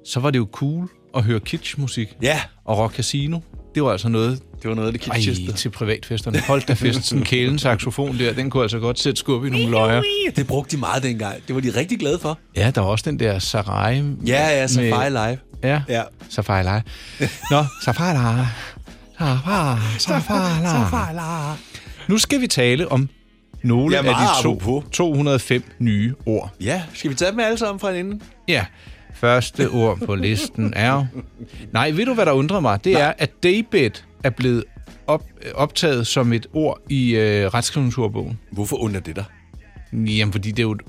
[SPEAKER 2] så var det jo cool at høre kitschmusik.
[SPEAKER 3] Ja.
[SPEAKER 2] Og Rock Casino, det var altså noget,
[SPEAKER 3] Det var noget af det
[SPEAKER 2] Ej,
[SPEAKER 3] kitscheste.
[SPEAKER 2] til privatfesterne. Hold da fest, sådan en kælen saxofon der, den kunne altså godt sætte skub i nogle løjer.
[SPEAKER 3] Det brugte de meget dengang. Det var de rigtig glade for.
[SPEAKER 2] Ja, der var også den der Sarai.
[SPEAKER 3] Ja, ja, så
[SPEAKER 2] med-
[SPEAKER 3] Fire Live.
[SPEAKER 2] Ja.
[SPEAKER 3] ja.
[SPEAKER 2] Safari. Nå, Safari. Safari. Safari.
[SPEAKER 11] Safala.
[SPEAKER 2] Nu skal vi tale om nogle
[SPEAKER 3] Ja,
[SPEAKER 2] af
[SPEAKER 3] meget
[SPEAKER 2] de to, 205 nye ord.
[SPEAKER 3] Ja, skal vi tage dem alle sammen fra en ende?
[SPEAKER 2] Ja. Første ord på listen er... Nej, ved du, hvad der undrer mig? Det Nej. er, at daybed er blevet op, optaget som et ord i øh, retskrivningsordbogen.
[SPEAKER 3] Hvorfor undrer det dig?
[SPEAKER 2] Jamen, fordi det er jo et,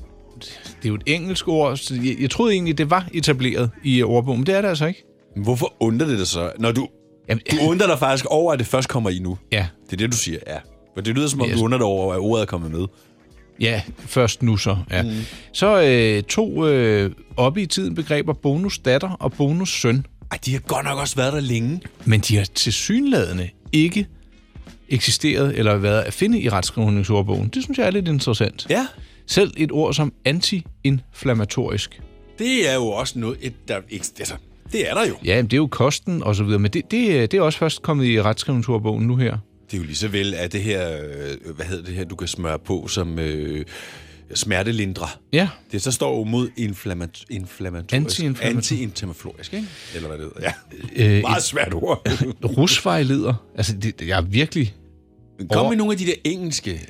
[SPEAKER 2] det er jo et engelsk ord. Så jeg, jeg troede egentlig, det var etableret i øh, ordbogen, men det er det altså ikke.
[SPEAKER 3] Hvorfor undrer det dig så, når du...
[SPEAKER 2] Jamen,
[SPEAKER 3] Du undrer dig faktisk over, at det først kommer i nu.
[SPEAKER 2] Ja.
[SPEAKER 3] Det er det, du siger, ja. For det lyder som om,
[SPEAKER 2] Yes.
[SPEAKER 3] du undrer dig over, at ordet er kommet med.
[SPEAKER 2] Ja, først nu så. Ja. Mm. Så øh, to øh, oppe i tiden begreber bonusdatter og bonussøn.
[SPEAKER 3] Ej, de har godt nok også været der længe.
[SPEAKER 2] Men de har tilsyneladende ikke eksisteret eller været at finde i retskrivningsordbogen. Det synes jeg er lidt interessant.
[SPEAKER 3] Ja.
[SPEAKER 2] Selv et ord som antiinflammatorisk.
[SPEAKER 3] Det er jo også noget, et, der, ikke- altså, det er der jo.
[SPEAKER 2] Ja, jamen, det er jo kosten og så videre, men det, det, øh, det er også først kommet i retskrivningsordbogen nu her.
[SPEAKER 3] Det er jo lige så vel, at det her, øh, hvad hedder det her, du kan smøre på som øh, smertelindre.
[SPEAKER 2] Ja.
[SPEAKER 3] Det så står jo mod inflammat- inflammatorisk.
[SPEAKER 2] Anti-inflammatorisk.
[SPEAKER 3] Anti-inflammatorisk, ikke? Eller hvad det hedder. Ja.
[SPEAKER 2] Øh,
[SPEAKER 3] Øh, Meget
[SPEAKER 2] et-
[SPEAKER 3] svært ord.
[SPEAKER 2] Rusvejleder. Altså, det, jeg er virkelig...
[SPEAKER 3] Kom
[SPEAKER 2] over-
[SPEAKER 3] med nogle af de der engelske.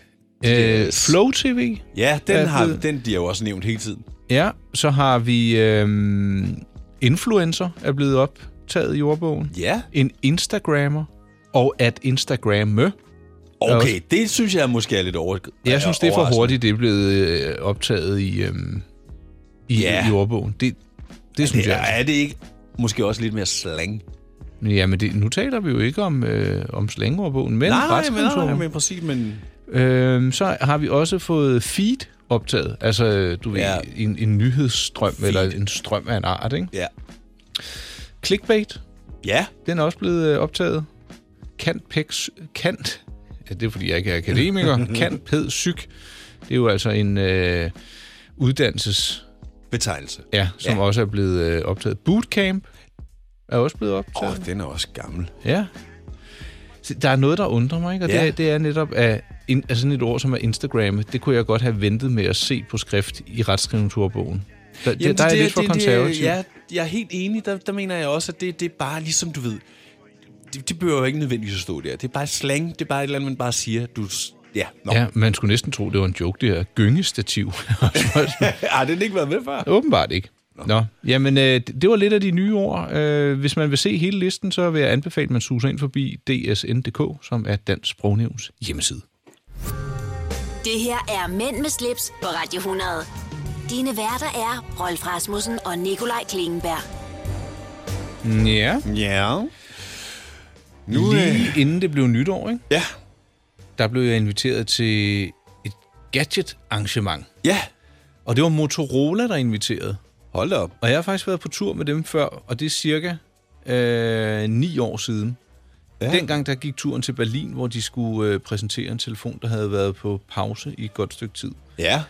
[SPEAKER 2] Øh, Flow TV.
[SPEAKER 3] Ja, den,
[SPEAKER 2] Hvad
[SPEAKER 3] har,
[SPEAKER 2] hed-
[SPEAKER 3] den bliver jo også nævnt hele tiden.
[SPEAKER 2] Ja, så har vi øhm, influencer er blevet optaget i ordbogen.
[SPEAKER 3] Ja.
[SPEAKER 2] En instagrammer og at instagramme.
[SPEAKER 3] Okay, det synes jeg måske er lidt over.
[SPEAKER 2] Jeg synes, det er for
[SPEAKER 3] overraskende.
[SPEAKER 2] hurtigt, det er blevet øh, optaget i, øhm, i,
[SPEAKER 3] Ja.
[SPEAKER 2] i ordbogen. Det, det synes
[SPEAKER 3] Det er,
[SPEAKER 2] jeg.
[SPEAKER 3] er det ikke måske også lidt mere slang?
[SPEAKER 2] Men Jamen, det, nu taler vi jo ikke om, øh, om slangordbogen, men
[SPEAKER 3] nej, men, nej,
[SPEAKER 2] retskrivningsordbogen.
[SPEAKER 3] men præcis, men...
[SPEAKER 2] Øhm, så har vi også fået feed optaget. Altså, øh, du ved,
[SPEAKER 3] Ja.
[SPEAKER 2] en, en nyhedsstrøm, feed. eller en strøm af en art, ikke?
[SPEAKER 3] Ja.
[SPEAKER 2] Clickbait.
[SPEAKER 3] Ja,
[SPEAKER 2] Den er også blevet øh, optaget. Kant Pex... Kant... Ja, det er, fordi jeg ikke er akademiker. Kant Ped Syg. Det er jo altså en øh, uddannelses...
[SPEAKER 3] betegnelse.
[SPEAKER 2] Ja, som ja. også er blevet øh, optaget. Bootcamp er også blevet optaget.
[SPEAKER 3] Åh, oh, den er også gammel.
[SPEAKER 2] Ja. Så der er noget, der undrer mig, ikke? Og ja.
[SPEAKER 3] Ja.
[SPEAKER 2] det, er, det er netop af, en, af sådan et ord som er Instagram. Det kunne jeg godt have ventet med at se på skrift i retskrivningsordbogen. Der, Jamen, der er jeg lidt for konservativ.
[SPEAKER 3] Ja, jeg er helt enig. Der, der mener jeg også, at det, det er bare ligesom, du ved... Det, det behøver jo ikke nødvendigvis at stå der. Det er bare slang. Det er bare et eller andet, man bare siger. Du, s- ja, nå.
[SPEAKER 2] ja, man skulle næsten tro, det var en joke, det her gyngestativ.
[SPEAKER 3] Har den ikke været med før?
[SPEAKER 2] Åbenbart ikke. Nå, jamen øh, det det var lidt af de nye ord. Øh, hvis man vil se hele listen, så vil jeg anbefale, at man suser ind forbi dsn.dk, som er Dansk Sprognævns hjemmeside.
[SPEAKER 1] Det her er Mænd med slips på Radio 100. Dine værter er Rolf Rasmussen og Nikolaj Klingenberg.
[SPEAKER 2] Ja,
[SPEAKER 3] Ja. Nu, øh,
[SPEAKER 2] lige inden det blev nytår, ikke?
[SPEAKER 3] ja.
[SPEAKER 2] der blev jeg inviteret til et gadget-arrangement.
[SPEAKER 3] Ja.
[SPEAKER 2] Og det var Motorola, der inviterede.
[SPEAKER 3] Hold da op.
[SPEAKER 2] Og jeg har faktisk været på tur med dem før, og det er cirka øh, ni år siden. Ja. Dengang der gik turen til Berlin, hvor de skulle øh, præsentere en telefon, der havde været på pause i et godt stykke tid.
[SPEAKER 3] Ja.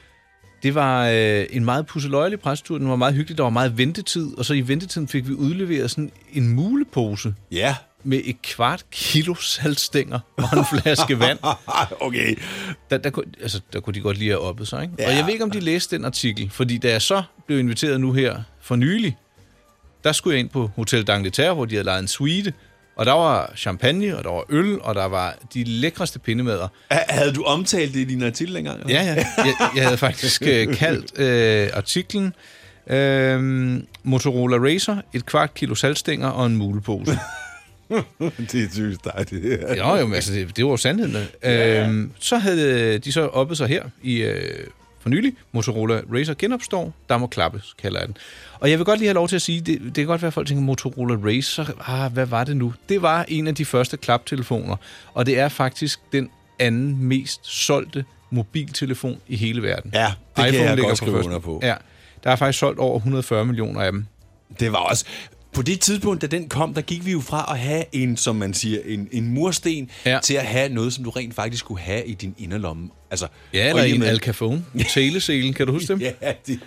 [SPEAKER 2] Det var øh, en meget pusseløjelig prestur. Den var meget hyggelig. Der var meget ventetid. Og så i ventetiden fik vi udleveret sådan en mulepose
[SPEAKER 3] Ja.
[SPEAKER 2] med et kvart kilo saltstænger og en flaske vand.
[SPEAKER 3] okay.
[SPEAKER 2] Der, der, kunne, altså, der kunne de godt lige have oppet sig. Ikke? Ja. Og jeg ved ikke, om de læste den artikel. Fordi da jeg så blev inviteret nu her for nylig, der skulle jeg ind på Hotel D'Angleterre, hvor de havde lejet en suite. Og der var champagne, og der var øl, og der var de lækreste pindemader.
[SPEAKER 3] Ha- Havde du omtalt det i din artikel engang? eller?
[SPEAKER 2] Ja, ja. Jeg, jeg havde faktisk øh, kaldt øh, artiklen øh, Motorola Racer, et kvart kilo saltstænger og en mulepose.
[SPEAKER 3] det er typisk dejligt.
[SPEAKER 2] Jo, jo, men altså, det, det var jo sandheden. Ja. Øhm, så havde de så oppet sig her i øh, for nylig. Motorola Racer genopstår. Der må klappes, kalder jeg den. Og jeg vil godt lige have lov til at sige, det, det kan godt være, at folk tænker, Motorola Racer, ah, hvad var det nu? Det var en af de første klaptelefoner, og det er faktisk den anden mest solgte mobiltelefon i hele verden.
[SPEAKER 3] Ja, det kan jeg
[SPEAKER 2] ligger
[SPEAKER 3] godt skrive
[SPEAKER 2] førsten.
[SPEAKER 3] under på.
[SPEAKER 2] Ja, der er faktisk solgt over 140 millioner af dem.
[SPEAKER 3] Det var også... På det tidspunkt, da den kom, der gik vi jo fra at have en, som man siger, en, en mursten,
[SPEAKER 2] Ja.
[SPEAKER 3] ja. til at have noget, som du rent faktisk kunne have i din inderlomme. Altså,
[SPEAKER 2] Ja,
[SPEAKER 3] og
[SPEAKER 2] eller
[SPEAKER 3] i og
[SPEAKER 2] en
[SPEAKER 3] med-
[SPEAKER 2] Al Capone. Teleselen, kan du huske dem?
[SPEAKER 3] Ja, det...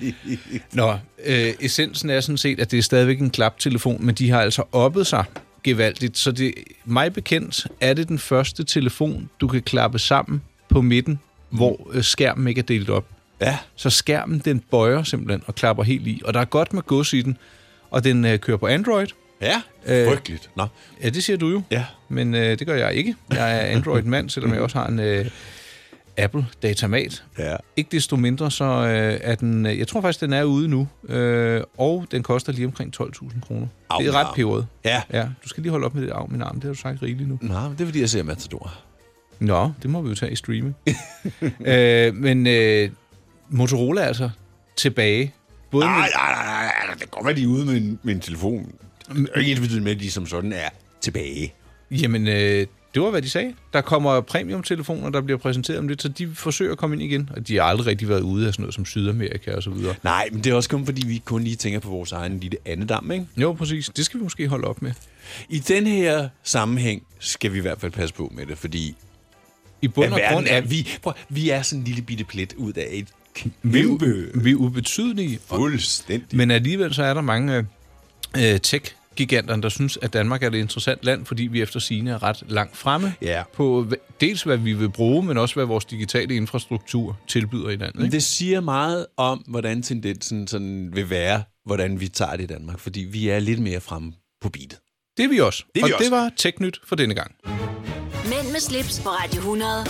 [SPEAKER 2] Nå, øh, essensen er sådan set, at det er stadigvæk en klaptelefon, men de har altså oppet sig gevaldigt. Så det, mig bekendt er det den første telefon, du kan klappe sammen på midten, hvor øh, skærmen ikke er delt op.
[SPEAKER 3] ja.
[SPEAKER 2] Så skærmen, den bøjer simpelthen og klapper helt i, og der er godt med gods i den. Og den øh, kører på Android.
[SPEAKER 3] Ja,
[SPEAKER 2] Øh.
[SPEAKER 3] frygteligt. Nå.
[SPEAKER 2] Ja, det siger du jo.
[SPEAKER 3] Ja.
[SPEAKER 2] Men øh, det gør jeg ikke. Jeg er Android-mand, selvom jeg også har en øh, Apple-datamat.
[SPEAKER 3] Ja.
[SPEAKER 2] Ikke desto mindre, så øh, er den... øh, Jeg tror faktisk, den er ude nu. Øh, og den koster lige omkring 12.000 kroner.
[SPEAKER 3] Au,
[SPEAKER 2] Det er
[SPEAKER 3] min
[SPEAKER 2] ret
[SPEAKER 3] arm.
[SPEAKER 2] peberet.
[SPEAKER 3] Ja.
[SPEAKER 2] ja. Du skal lige holde op med det af min arm. Det har du sagt rigeligt nu.
[SPEAKER 3] Nej, men det er, fordi jeg ser Matador.
[SPEAKER 2] Nå, det må vi jo tage i streaming. øh, men øh, Motorola er altså tilbage. Både
[SPEAKER 3] Nej, nej, nej, nej, nej, det kan godt være, de er ude med en, med en telefon.
[SPEAKER 2] Mm.
[SPEAKER 3] Det er jo ikke ens betydende med, at de som sådan er tilbage.
[SPEAKER 2] Jamen, øh, det var, hvad de sagde. Der kommer premium-telefoner, der bliver præsenteret om lidt, så de forsøger at komme ind igen. Og de har aldrig rigtig været ude af sådan noget som Sydamerika og så videre.
[SPEAKER 3] Nej, men det er også kun, fordi vi kun lige tænker på vores egen lille andedam, ikke?
[SPEAKER 2] Jo, præcis. Det skal vi måske holde op med.
[SPEAKER 3] I den her sammenhæng skal vi i hvert fald passe på med det, fordi...
[SPEAKER 2] I bund
[SPEAKER 3] af
[SPEAKER 2] og
[SPEAKER 3] verden
[SPEAKER 2] grund
[SPEAKER 3] er
[SPEAKER 2] er
[SPEAKER 3] vi... Prøv, vi er sådan en lille bitte plet ud af et
[SPEAKER 2] vi,
[SPEAKER 3] kæmpe...
[SPEAKER 2] vi er ubetydelige. Og,
[SPEAKER 3] Fuldstændig.
[SPEAKER 2] men alligevel så er der mange øh, øh, tech-giganterne, der synes, at Danmark er et interessant land, fordi vi efter sine er ret langt fremme
[SPEAKER 3] Ja.
[SPEAKER 2] på hva- dels, hvad vi vil bruge, men også, hvad vores digitale infrastruktur tilbyder i landet. Ikke?
[SPEAKER 3] Det siger meget om, hvordan tendensen sådan vil være, hvordan vi tager det i Danmark, fordi vi er lidt mere fremme på beatet.
[SPEAKER 2] Det er vi også.
[SPEAKER 3] Det er
[SPEAKER 2] og
[SPEAKER 3] vi også.
[SPEAKER 2] det var Teknyt for denne gang.
[SPEAKER 1] Mænd med slips på Radio 100. Det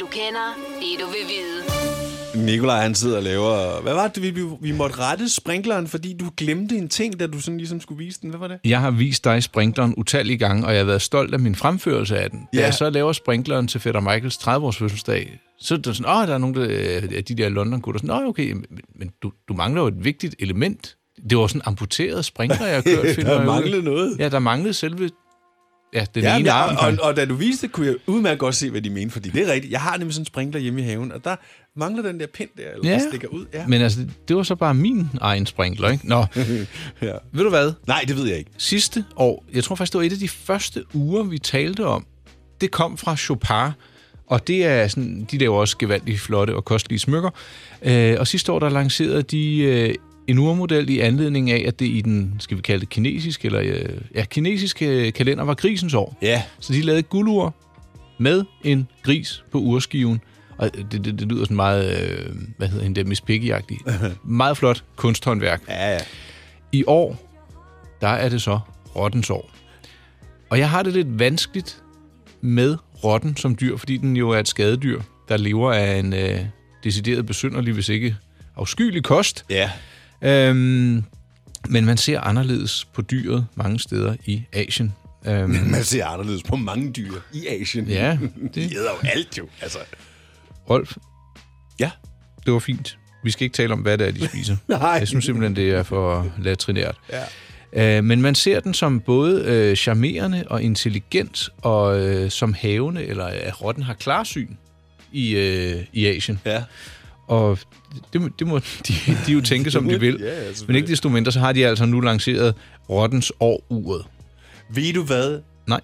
[SPEAKER 1] du kender, det du vil vide.
[SPEAKER 3] Nikolaj, han sidder og laver... Hvad var det, vi, vi- vi måtte rette sprinkleren, fordi du glemte en ting, da du sådan ligesom skulle vise den? Hvad var det?
[SPEAKER 2] Jeg har vist dig sprinkleren utallige gange, og jeg har været stolt af min fremførelse af den. Ja.
[SPEAKER 3] Ja.
[SPEAKER 2] Da jeg så laver sprinkleren til Fætter Michaels 30-års fødselsdag, så er det sådan, åh, der er nogle af de- af de der London-gutter. Sådan, Nå, okay, men, men du, du mangler jo et vigtigt element. Det var sådan en amputeret sprinkler, jeg har kørt. finder jeg ud
[SPEAKER 3] der
[SPEAKER 2] af.
[SPEAKER 3] manglede noget.
[SPEAKER 2] Ja, der manglede selve... Ja, den
[SPEAKER 3] Ja,
[SPEAKER 2] ja,
[SPEAKER 3] men
[SPEAKER 2] ene
[SPEAKER 3] jeg,
[SPEAKER 2] arm.
[SPEAKER 3] og, og da du viste det, kunne jeg udmærket godt se, hvad de mente, fordi det er rigtigt. Jeg har nemlig sådan en sprinkler hjemme i haven, og der mangler den der pind der, eller ja.
[SPEAKER 2] Ja.
[SPEAKER 3] der stikker ud. Ja.
[SPEAKER 2] Men altså, det var så bare min egen sprinkler, ikke? Nå,
[SPEAKER 3] ja.
[SPEAKER 2] ved du hvad?
[SPEAKER 3] Nej, det ved jeg ikke.
[SPEAKER 2] sidste år, jeg tror faktisk, det var et af de første uger, vi talte om, det kom fra Chopin, og det er sådan, de laver også gevaldigt flotte og kostelige smykker. Øh, og sidste år, der lancerede de øh, en urmodel i anledning af, at det i den, skal vi kalde det kinesiske, eller øh, ja, kinesiske øh, kalender var grisens år.
[SPEAKER 3] Ja.
[SPEAKER 2] Så de lavede et guldur med en gris på urskiven. Og det, det, det lyder sådan meget, øh, hvad hedder hende der, Miss piggy Meget flot kunsthåndværk.
[SPEAKER 3] Ja, ja.
[SPEAKER 2] I år, der er det så rottens år. Og jeg har det lidt vanskeligt med rotten som dyr, fordi den jo er et skadedyr, der lever af en øh, decideret besynderlig, hvis ikke afskyelig kost.
[SPEAKER 3] Ja.
[SPEAKER 2] Øhm, men man ser anderledes på dyret mange steder i Asien. Øhm,
[SPEAKER 3] Man ser anderledes på mange dyr i Asien.
[SPEAKER 2] ja,
[SPEAKER 3] De
[SPEAKER 2] det,
[SPEAKER 3] æder jo alt jo. Altså.
[SPEAKER 2] Rolf,
[SPEAKER 3] Ja.
[SPEAKER 2] det var fint. Vi skal ikke tale om, hvad det er, de spiser.
[SPEAKER 3] Nej.
[SPEAKER 2] Jeg synes simpelthen, det er for latrinært. Ja. Øh, men man ser den som både øh, charmerende og intelligent, og øh, som havende, eller at rotten har klarsyn i, øh, i Asien.
[SPEAKER 3] Ja.
[SPEAKER 2] Og det, må- det må de, de jo tænke, som
[SPEAKER 3] må
[SPEAKER 2] de
[SPEAKER 3] de,
[SPEAKER 2] vil.
[SPEAKER 3] ja, ja,
[SPEAKER 2] men
[SPEAKER 3] selvfølgelig.
[SPEAKER 2] ikke desto mindre, så har de altså nu lanceret rottens år-uret.
[SPEAKER 3] Ved du hvad?
[SPEAKER 2] Nej.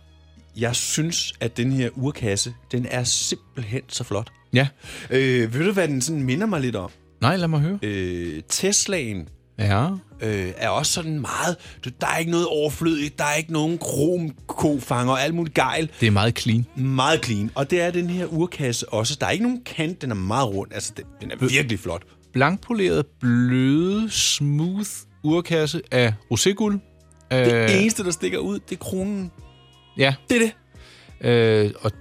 [SPEAKER 3] Jeg synes, at den her urkasse, den er simpelthen så flot.
[SPEAKER 2] Ja.
[SPEAKER 3] Øh, ved du, hvad den sådan minder mig lidt om?
[SPEAKER 2] Nej, lad mig høre.
[SPEAKER 3] Øh, Teslaen
[SPEAKER 2] Ja.
[SPEAKER 3] øh, er også sådan meget... Du, der er ikke noget overflødigt, der er ikke nogen kromkofanger og alt muligt gejl.
[SPEAKER 2] Det er meget clean.
[SPEAKER 3] Meget clean. Og det er den her urkasse også. Der er ikke nogen kant, den er meget rund. Altså, den, den er virkelig flot.
[SPEAKER 2] Blankpoleret, bløde, smooth urkasse af roséguld. Øh,
[SPEAKER 3] Det eneste, der stikker ud, det er kronen.
[SPEAKER 2] Ja,
[SPEAKER 3] Det er det.
[SPEAKER 2] Øh, og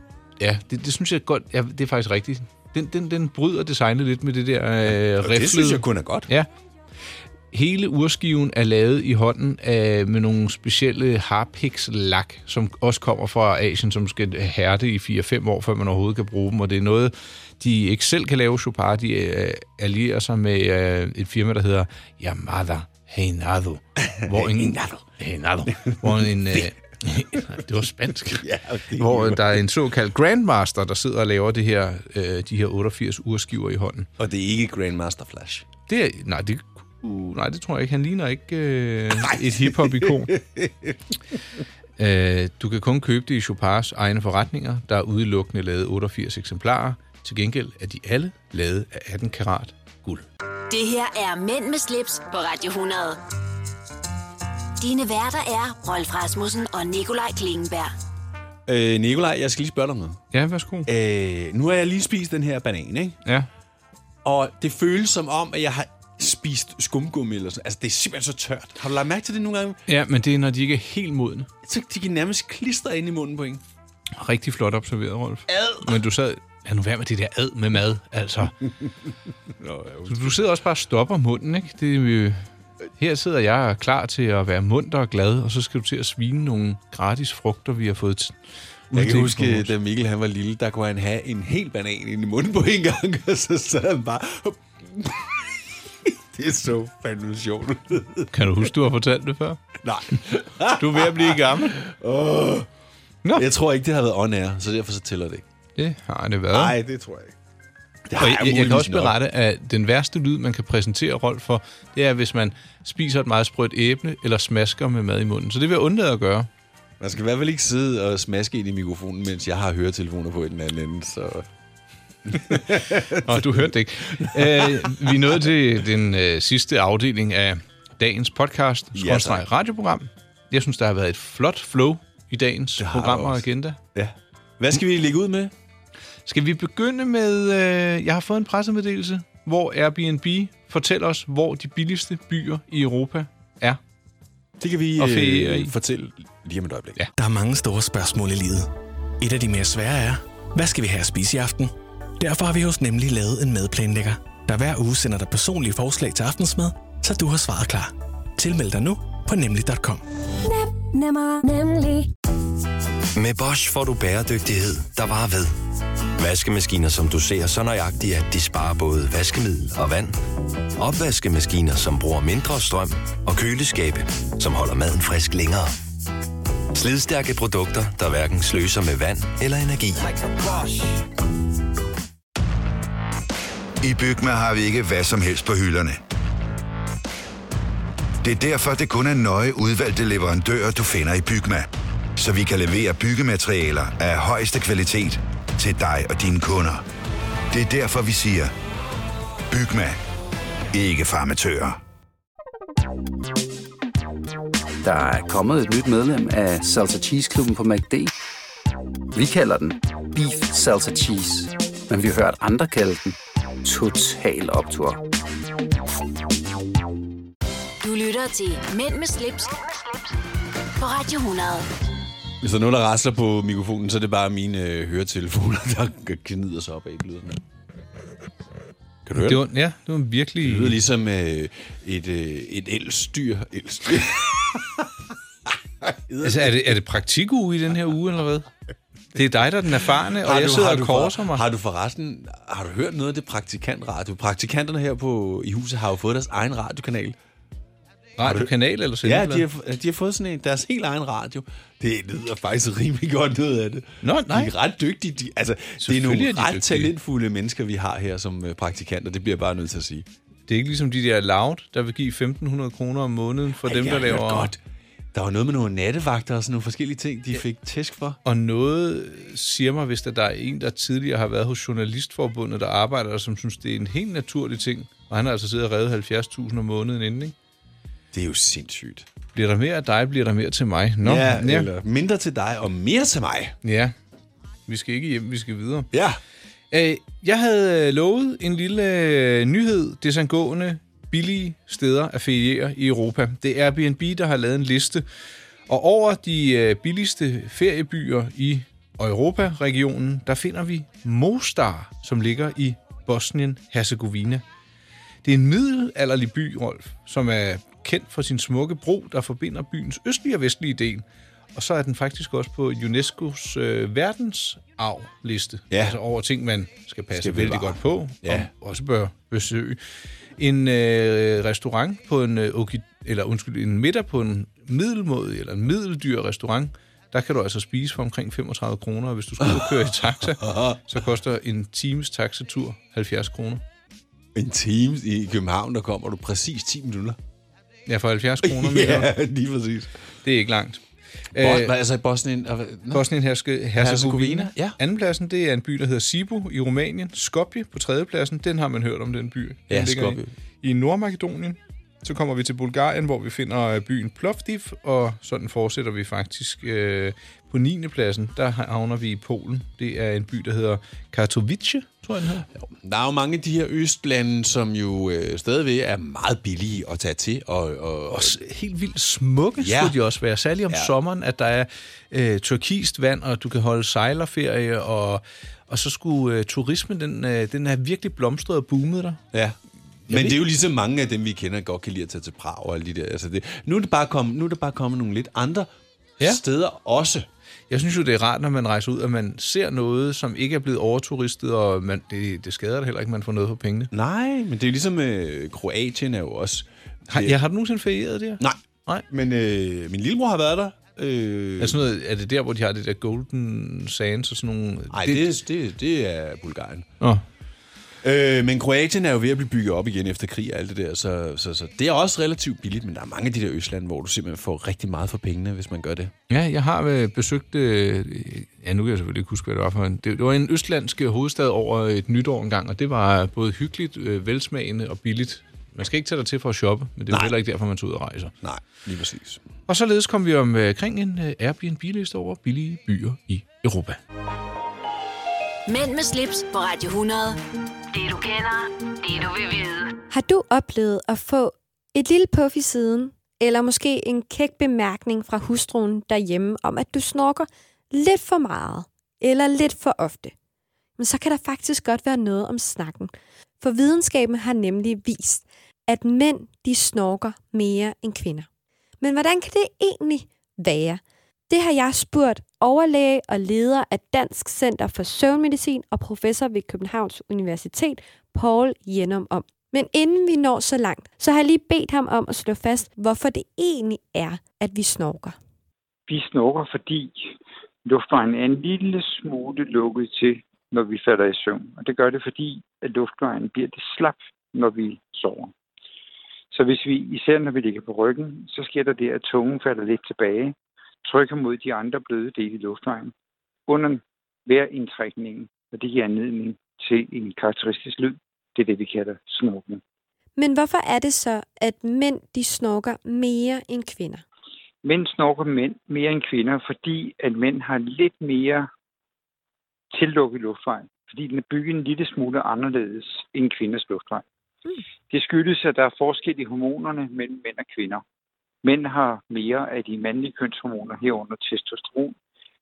[SPEAKER 2] ja, det, det synes jeg godt, ja, det er faktisk rigtigt. Den, den, den bryder designet lidt med det der øh,
[SPEAKER 3] Og det synes
[SPEAKER 2] riflede-
[SPEAKER 3] jeg kun er godt.
[SPEAKER 2] Ja. Hele urskiven er lavet i hånden af, med nogle specielle harpikslak, som også kommer fra Asien, som skal hærde i 4-5 år, før man overhovedet kan bruge dem. Og det er noget, de ikke selv kan lave, Chopard. De øh, allierer sig med øh, et firma, der hedder Yamada Heinado. Hvor en, Heinado. Hvor en... Øh, det var spansk. Ja,
[SPEAKER 3] det
[SPEAKER 2] hvor der er en såkaldt grandmaster, der sidder og laver det her, øh, de her 88 urskiver i hånden.
[SPEAKER 3] Og det er ikke Grandmaster Flash.
[SPEAKER 2] Det er, nej, det, uh, nej, det tror jeg ikke. Han ligner ikke øh, et hiphop-ikon. øh, du kan kun købe det i Chopards egne forretninger. Der er udelukkende lavet 88 eksemplarer. Til gengæld er de alle lavet af 18 karat guld.
[SPEAKER 1] Det her er Mænd med slips på Radio 100. Dine værter er Rolf Rasmussen og Nikolaj Klingenberg.
[SPEAKER 3] Øh, Nikolaj, jeg skal lige spørge dig om noget.
[SPEAKER 2] Ja, værsgo.
[SPEAKER 3] Øh, nu har jeg lige spist den her banan, ikke?
[SPEAKER 2] Ja.
[SPEAKER 3] Og det føles som om, at jeg har spist skumgummi eller sådan. Altså, det er simpelthen så tørt. Har du lagt mærke til det nogle gange?
[SPEAKER 2] Ja, men det er, når de ikke er helt modne.
[SPEAKER 3] Så de kan nærmest klistre ind i munden på en.
[SPEAKER 2] Rigtig flot observeret, Rolf. Ad. Men du sad... Lad nu være med det der ad med mad, altså.
[SPEAKER 3] Nå, ja,
[SPEAKER 2] Du, du sidder også bare og stopper munden, ikke? Det, er jo- her sidder jeg klar til at være munter og glad, og så skal du til at svine nogle gratis frugter, vi har fået t-
[SPEAKER 3] Jeg kan
[SPEAKER 2] uddelt på
[SPEAKER 3] huske,
[SPEAKER 2] vores-
[SPEAKER 3] da Mikkel han var lille, der kunne han have en hel banan ind i munden på en gang, og så sad han bare... det er så fandme sjovt.
[SPEAKER 2] Kan du huske, du har fortalt det før?
[SPEAKER 3] Nej.
[SPEAKER 2] Du er ved at blive gammel.
[SPEAKER 3] Oh. Jeg tror ikke, det har været on air, så derfor så tæller det ikke.
[SPEAKER 2] Det har det været.
[SPEAKER 3] Nej, det tror jeg ikke. Det har
[SPEAKER 2] Og
[SPEAKER 3] jeg,
[SPEAKER 2] jeg, jeg, jeg kan
[SPEAKER 3] muligvis
[SPEAKER 2] også
[SPEAKER 3] nok.
[SPEAKER 2] berette, at den værste lyd, man kan præsentere Rolf for, det er, hvis man spiser et meget sprødt æble eller smasker med mad i munden. Så det vil jeg undlade at gøre.
[SPEAKER 3] Man skal i hvert fald ikke sidde og smaske ind i mikrofonen, mens jeg har høretelefoner på i den anden ende, så...
[SPEAKER 2] Nå, du hørte det ikke. Æh, vi er nået til den øh, sidste afdeling af dagens podcast,
[SPEAKER 3] Ja, tak.
[SPEAKER 2] skrådstreg radioprogram. Jeg synes, der har været et flot flow i dagens program
[SPEAKER 3] der
[SPEAKER 2] og
[SPEAKER 3] også.
[SPEAKER 2] agenda.
[SPEAKER 3] Ja. Hvad skal vi lægge ud med?
[SPEAKER 2] Skal vi begynde med... Øh, jeg har fået en pressemeddelelse, hvor Airbnb fortæller os, hvor de billigste byer i Europa er.
[SPEAKER 3] Det kan vi
[SPEAKER 2] Og ferier i.
[SPEAKER 3] øh, fortælle lige om et øjeblik.
[SPEAKER 12] Der er mange store spørgsmål i livet. Et af de mere svære er, hvad skal vi have at spise i aften? Derfor har vi hos Nemlig lavet en madplanlægger, der hver uge sender dig personlige forslag til aftensmad, så du har svaret klar. Tilmeld dig nu på nemlig.com.
[SPEAKER 13] Nemmer, nemlig.
[SPEAKER 14] Med Bosch får du bæredygtighed, der varer ved. Vaskemaskiner, som du ser så nøjagtigt, at de sparer både vaskemiddel og vand. Opvaskemaskiner, som bruger mindre strøm. Og køleskabe, som holder maden frisk længere. Slidstærke produkter, der hverken sløser med vand eller energi.
[SPEAKER 15] I Bygma har vi ikke hvad som helst på hylderne. Det er derfor, det kun er nøje udvalgte leverandører, du finder i Bygma. Så vi kan levere byggematerialer af højeste kvalitet til dig og dine kunder. Det er derfor, vi siger, Bygma. Ikke farmatører.
[SPEAKER 16] Der er kommet et nyt medlem af Salsa Cheese Klubben på MACD. Vi kalder den Beef Salsa Cheese, men vi har hørt andre kalde den Total Optor.
[SPEAKER 1] Du lytter til Mænd med slips på Radio 100.
[SPEAKER 3] Hvis der er nogen, der rasler på mikrofonen, så er det bare mine øh, høretelefoner, der gnider sig op af lyden. Kan du høre
[SPEAKER 2] Det var, ja, det var virkelig...
[SPEAKER 3] Det lyder ligesom øh, et, øh, et elstyr. elstyr.
[SPEAKER 2] Altså, er det, er det praktikuge i den her uge, eller hvad? Det er dig, der er den erfarne, og
[SPEAKER 3] Har
[SPEAKER 2] jeg
[SPEAKER 3] du-
[SPEAKER 2] sidder
[SPEAKER 3] har
[SPEAKER 2] og
[SPEAKER 3] du
[SPEAKER 2] korser
[SPEAKER 3] for-
[SPEAKER 2] mig.
[SPEAKER 3] Har du forresten har du hørt noget af det praktikantradio? Praktikanterne her på, i huset har jo fået deres egen radiokanal. Har du-
[SPEAKER 2] Radiokanal eller
[SPEAKER 3] Ja,
[SPEAKER 2] sendeblad?
[SPEAKER 3] de har, de har fået sådan en, deres helt egen radio. Det lyder faktisk rimelig godt ud af det.
[SPEAKER 2] Nå, nej.
[SPEAKER 3] De er ret dygtige. De, altså, det er
[SPEAKER 2] Selvfølgelig
[SPEAKER 3] nogle
[SPEAKER 2] er de
[SPEAKER 3] ret
[SPEAKER 2] dygtige.
[SPEAKER 3] talentfulde mennesker, vi har her som øh, praktikanter. Det bliver jeg bare nødt til at sige.
[SPEAKER 2] Det er ikke ligesom de der loud, der vil give 1.500 kroner om måneden for
[SPEAKER 3] Ej,
[SPEAKER 2] dem,
[SPEAKER 3] jeg
[SPEAKER 2] der
[SPEAKER 3] har hørt
[SPEAKER 2] laver...
[SPEAKER 3] godt. Der var noget med nogle nattevagter og sådan nogle forskellige ting, de fik tæsk for.
[SPEAKER 2] Og noget siger mig, hvis der, der er en, der tidligere har været hos Journalistforbundet, der arbejder, og som synes, det er en helt naturlig ting, og han har altså siddet og reddet 70.000 om måneden inden, ikke?
[SPEAKER 3] Det er jo sindssygt.
[SPEAKER 2] Bliver der mere af dig, bliver der mere til mig. Nå,
[SPEAKER 3] ja, eller mindre til dig og mere til mig.
[SPEAKER 2] Ja. Vi skal ikke hjem, vi skal videre.
[SPEAKER 3] Ja.
[SPEAKER 2] Øh, jeg havde øh, lovet en lille øh, nyhed desangående billige steder at feriere i Europa. Det er Airbnb, der har lavet en liste. Og over de øh, billigste feriebyer i Europa-regionen, der finder vi Mostar, som ligger i Bosnien-Herzegovina. Det er en middelalderlig by, Rolf, som er kendt for sin smukke bro, der forbinder byens østlige og vestlige del. Og så er den faktisk også på UNESCO's øh, verdensarvliste.
[SPEAKER 3] Ja.
[SPEAKER 2] Altså over ting, man skal passe
[SPEAKER 3] Skal
[SPEAKER 2] skal vældig
[SPEAKER 3] bevare.
[SPEAKER 2] godt på,
[SPEAKER 3] Ja.
[SPEAKER 2] og også bør besøge. En øh, restaurant på en, øh, oki, eller, undskyld, en middag på en middelmådig eller en middeldyr restaurant, der kan du altså spise for omkring 35 kroner, og hvis du skal ud og køre i taxa, så koster en times taxatur 70 kroner.
[SPEAKER 3] En time i København, der kommer du præcis 10 minutter.
[SPEAKER 2] Ja, for 70 kroner mere.
[SPEAKER 3] ja, lige præcis.
[SPEAKER 2] Det er ikke langt.
[SPEAKER 3] Bos-
[SPEAKER 2] Øh,
[SPEAKER 3] nej, altså i Bosnien... og- nå.
[SPEAKER 2] Bosnien Herzegovina.
[SPEAKER 3] Herzegovina, ja.
[SPEAKER 2] Andenpladsen, det er en by, der hedder Sibu i Rumænien. Skopje på tredjepladsen, den har man hørt om, den by. Den
[SPEAKER 3] Ja,
[SPEAKER 2] ligger
[SPEAKER 3] Skopje.
[SPEAKER 2] I, i Nordmakedonien. Så kommer vi til Bulgarien, hvor vi finder øh, byen Plovdiv, og sådan fortsætter vi faktisk øh, på 9. pladsen. Der havner vi i Polen. Det er en by, der hedder Katowice, tror jeg den hedder.
[SPEAKER 3] Der er jo mange af de her østlande, som jo øh, stadigvæk er meget billige at tage til. Og, og, og
[SPEAKER 2] helt vildt smukke ja. skulle de også være. Særligt om ja. sommeren, at der er øh, turkist vand, og du kan holde sejlerferie, og, og så skulle øh, turismen, den, øh, den er virkelig blomstret og boomet der.
[SPEAKER 3] Ja. Men det er jo ligesom mange af dem, vi kender, godt kan lide at tage til Prag og alle de der. Altså det, nu, er det bare kommet, nu er det bare kommet nogle lidt andre ja. steder også.
[SPEAKER 2] Jeg synes jo, det er rart, når man rejser ud, at man ser noget, som ikke er blevet overturistet, og man, det, det skader det heller ikke, at man får noget for pengene.
[SPEAKER 3] Nej, men det er jo ligesom øh, Kroatien er jo også...
[SPEAKER 2] Har, ja, har du nogensinde ferieret der?
[SPEAKER 3] Nej, Nej. men øh, min lillebror har været der. Øh,
[SPEAKER 2] Er, Altså sådan noget, er det der, hvor de har det der golden sands og sådan nogle...
[SPEAKER 3] Nej, det, det, det, det er Bulgarien.
[SPEAKER 2] Nå.
[SPEAKER 3] Øh, men Kroatien er jo ved at blive bygget op igen efter krig og alt det der, så, så, så det er også relativt billigt, men der er mange af de der Østland, hvor du simpelthen får rigtig meget for pengene, hvis man gør det.
[SPEAKER 2] Ja, jeg har øh, besøgt... Øh, ja, nu kan jeg selvfølgelig ikke huske, hvad det var for en... Det, det var en østlandsk øh, hovedstad over et nytår engang, og det var både hyggeligt, øh, velsmagende og billigt. Man skal ikke tage dig til for at shoppe, men det er jo heller ikke derfor, man tager ud og rejser.
[SPEAKER 3] Nej, lige præcis.
[SPEAKER 2] Og således kom vi omkring en øh, Airbnb-liste over billige byer i Europa.
[SPEAKER 1] Mænd med slips på Radio 100. Det du kender, det du vil vide.
[SPEAKER 17] Har du oplevet at få et lille puff i siden, eller måske en kæk bemærkning fra hustruen derhjemme om, at du snorker lidt for meget, eller lidt for ofte? Men så kan der faktisk godt være noget om snakken. For videnskaben har nemlig vist, at mænd de snorker mere end kvinder. Men hvordan kan det egentlig være? Det har jeg spurgt overlæge og leder af Dansk Center for Søvnmedicin og professor ved Københavns Universitet, Paul Jennum om. Men inden vi når så langt, så har jeg lige bedt ham om at slå fast, hvorfor det egentlig er, at vi snorker.
[SPEAKER 18] Vi snorker, fordi luftvejen er en lille smule lukket til, når vi falder i søvn. Og det gør det, fordi at luftvejen bliver det slap, når vi sover. Så hvis vi, især når vi ligger på ryggen, så sker der det, at tungen falder lidt tilbage, trykker mod de andre bløde dele i luftvejen under hver indtrækning, og det giver anledning til en karakteristisk lyd. Det er det, vi kalder snorken.
[SPEAKER 17] Men hvorfor er det så, at mænd de snorker mere end kvinder?
[SPEAKER 18] Mænd snorker mænd mere end kvinder, fordi at mænd har lidt mere tillukket luftvej, fordi den er bygget en lille smule anderledes end kvinders luftvej.
[SPEAKER 17] Mm.
[SPEAKER 18] Det skyldes, at der er forskel i hormonerne mellem mænd og kvinder. Mænd har mere af de mandlige kønshormoner herunder testosteron,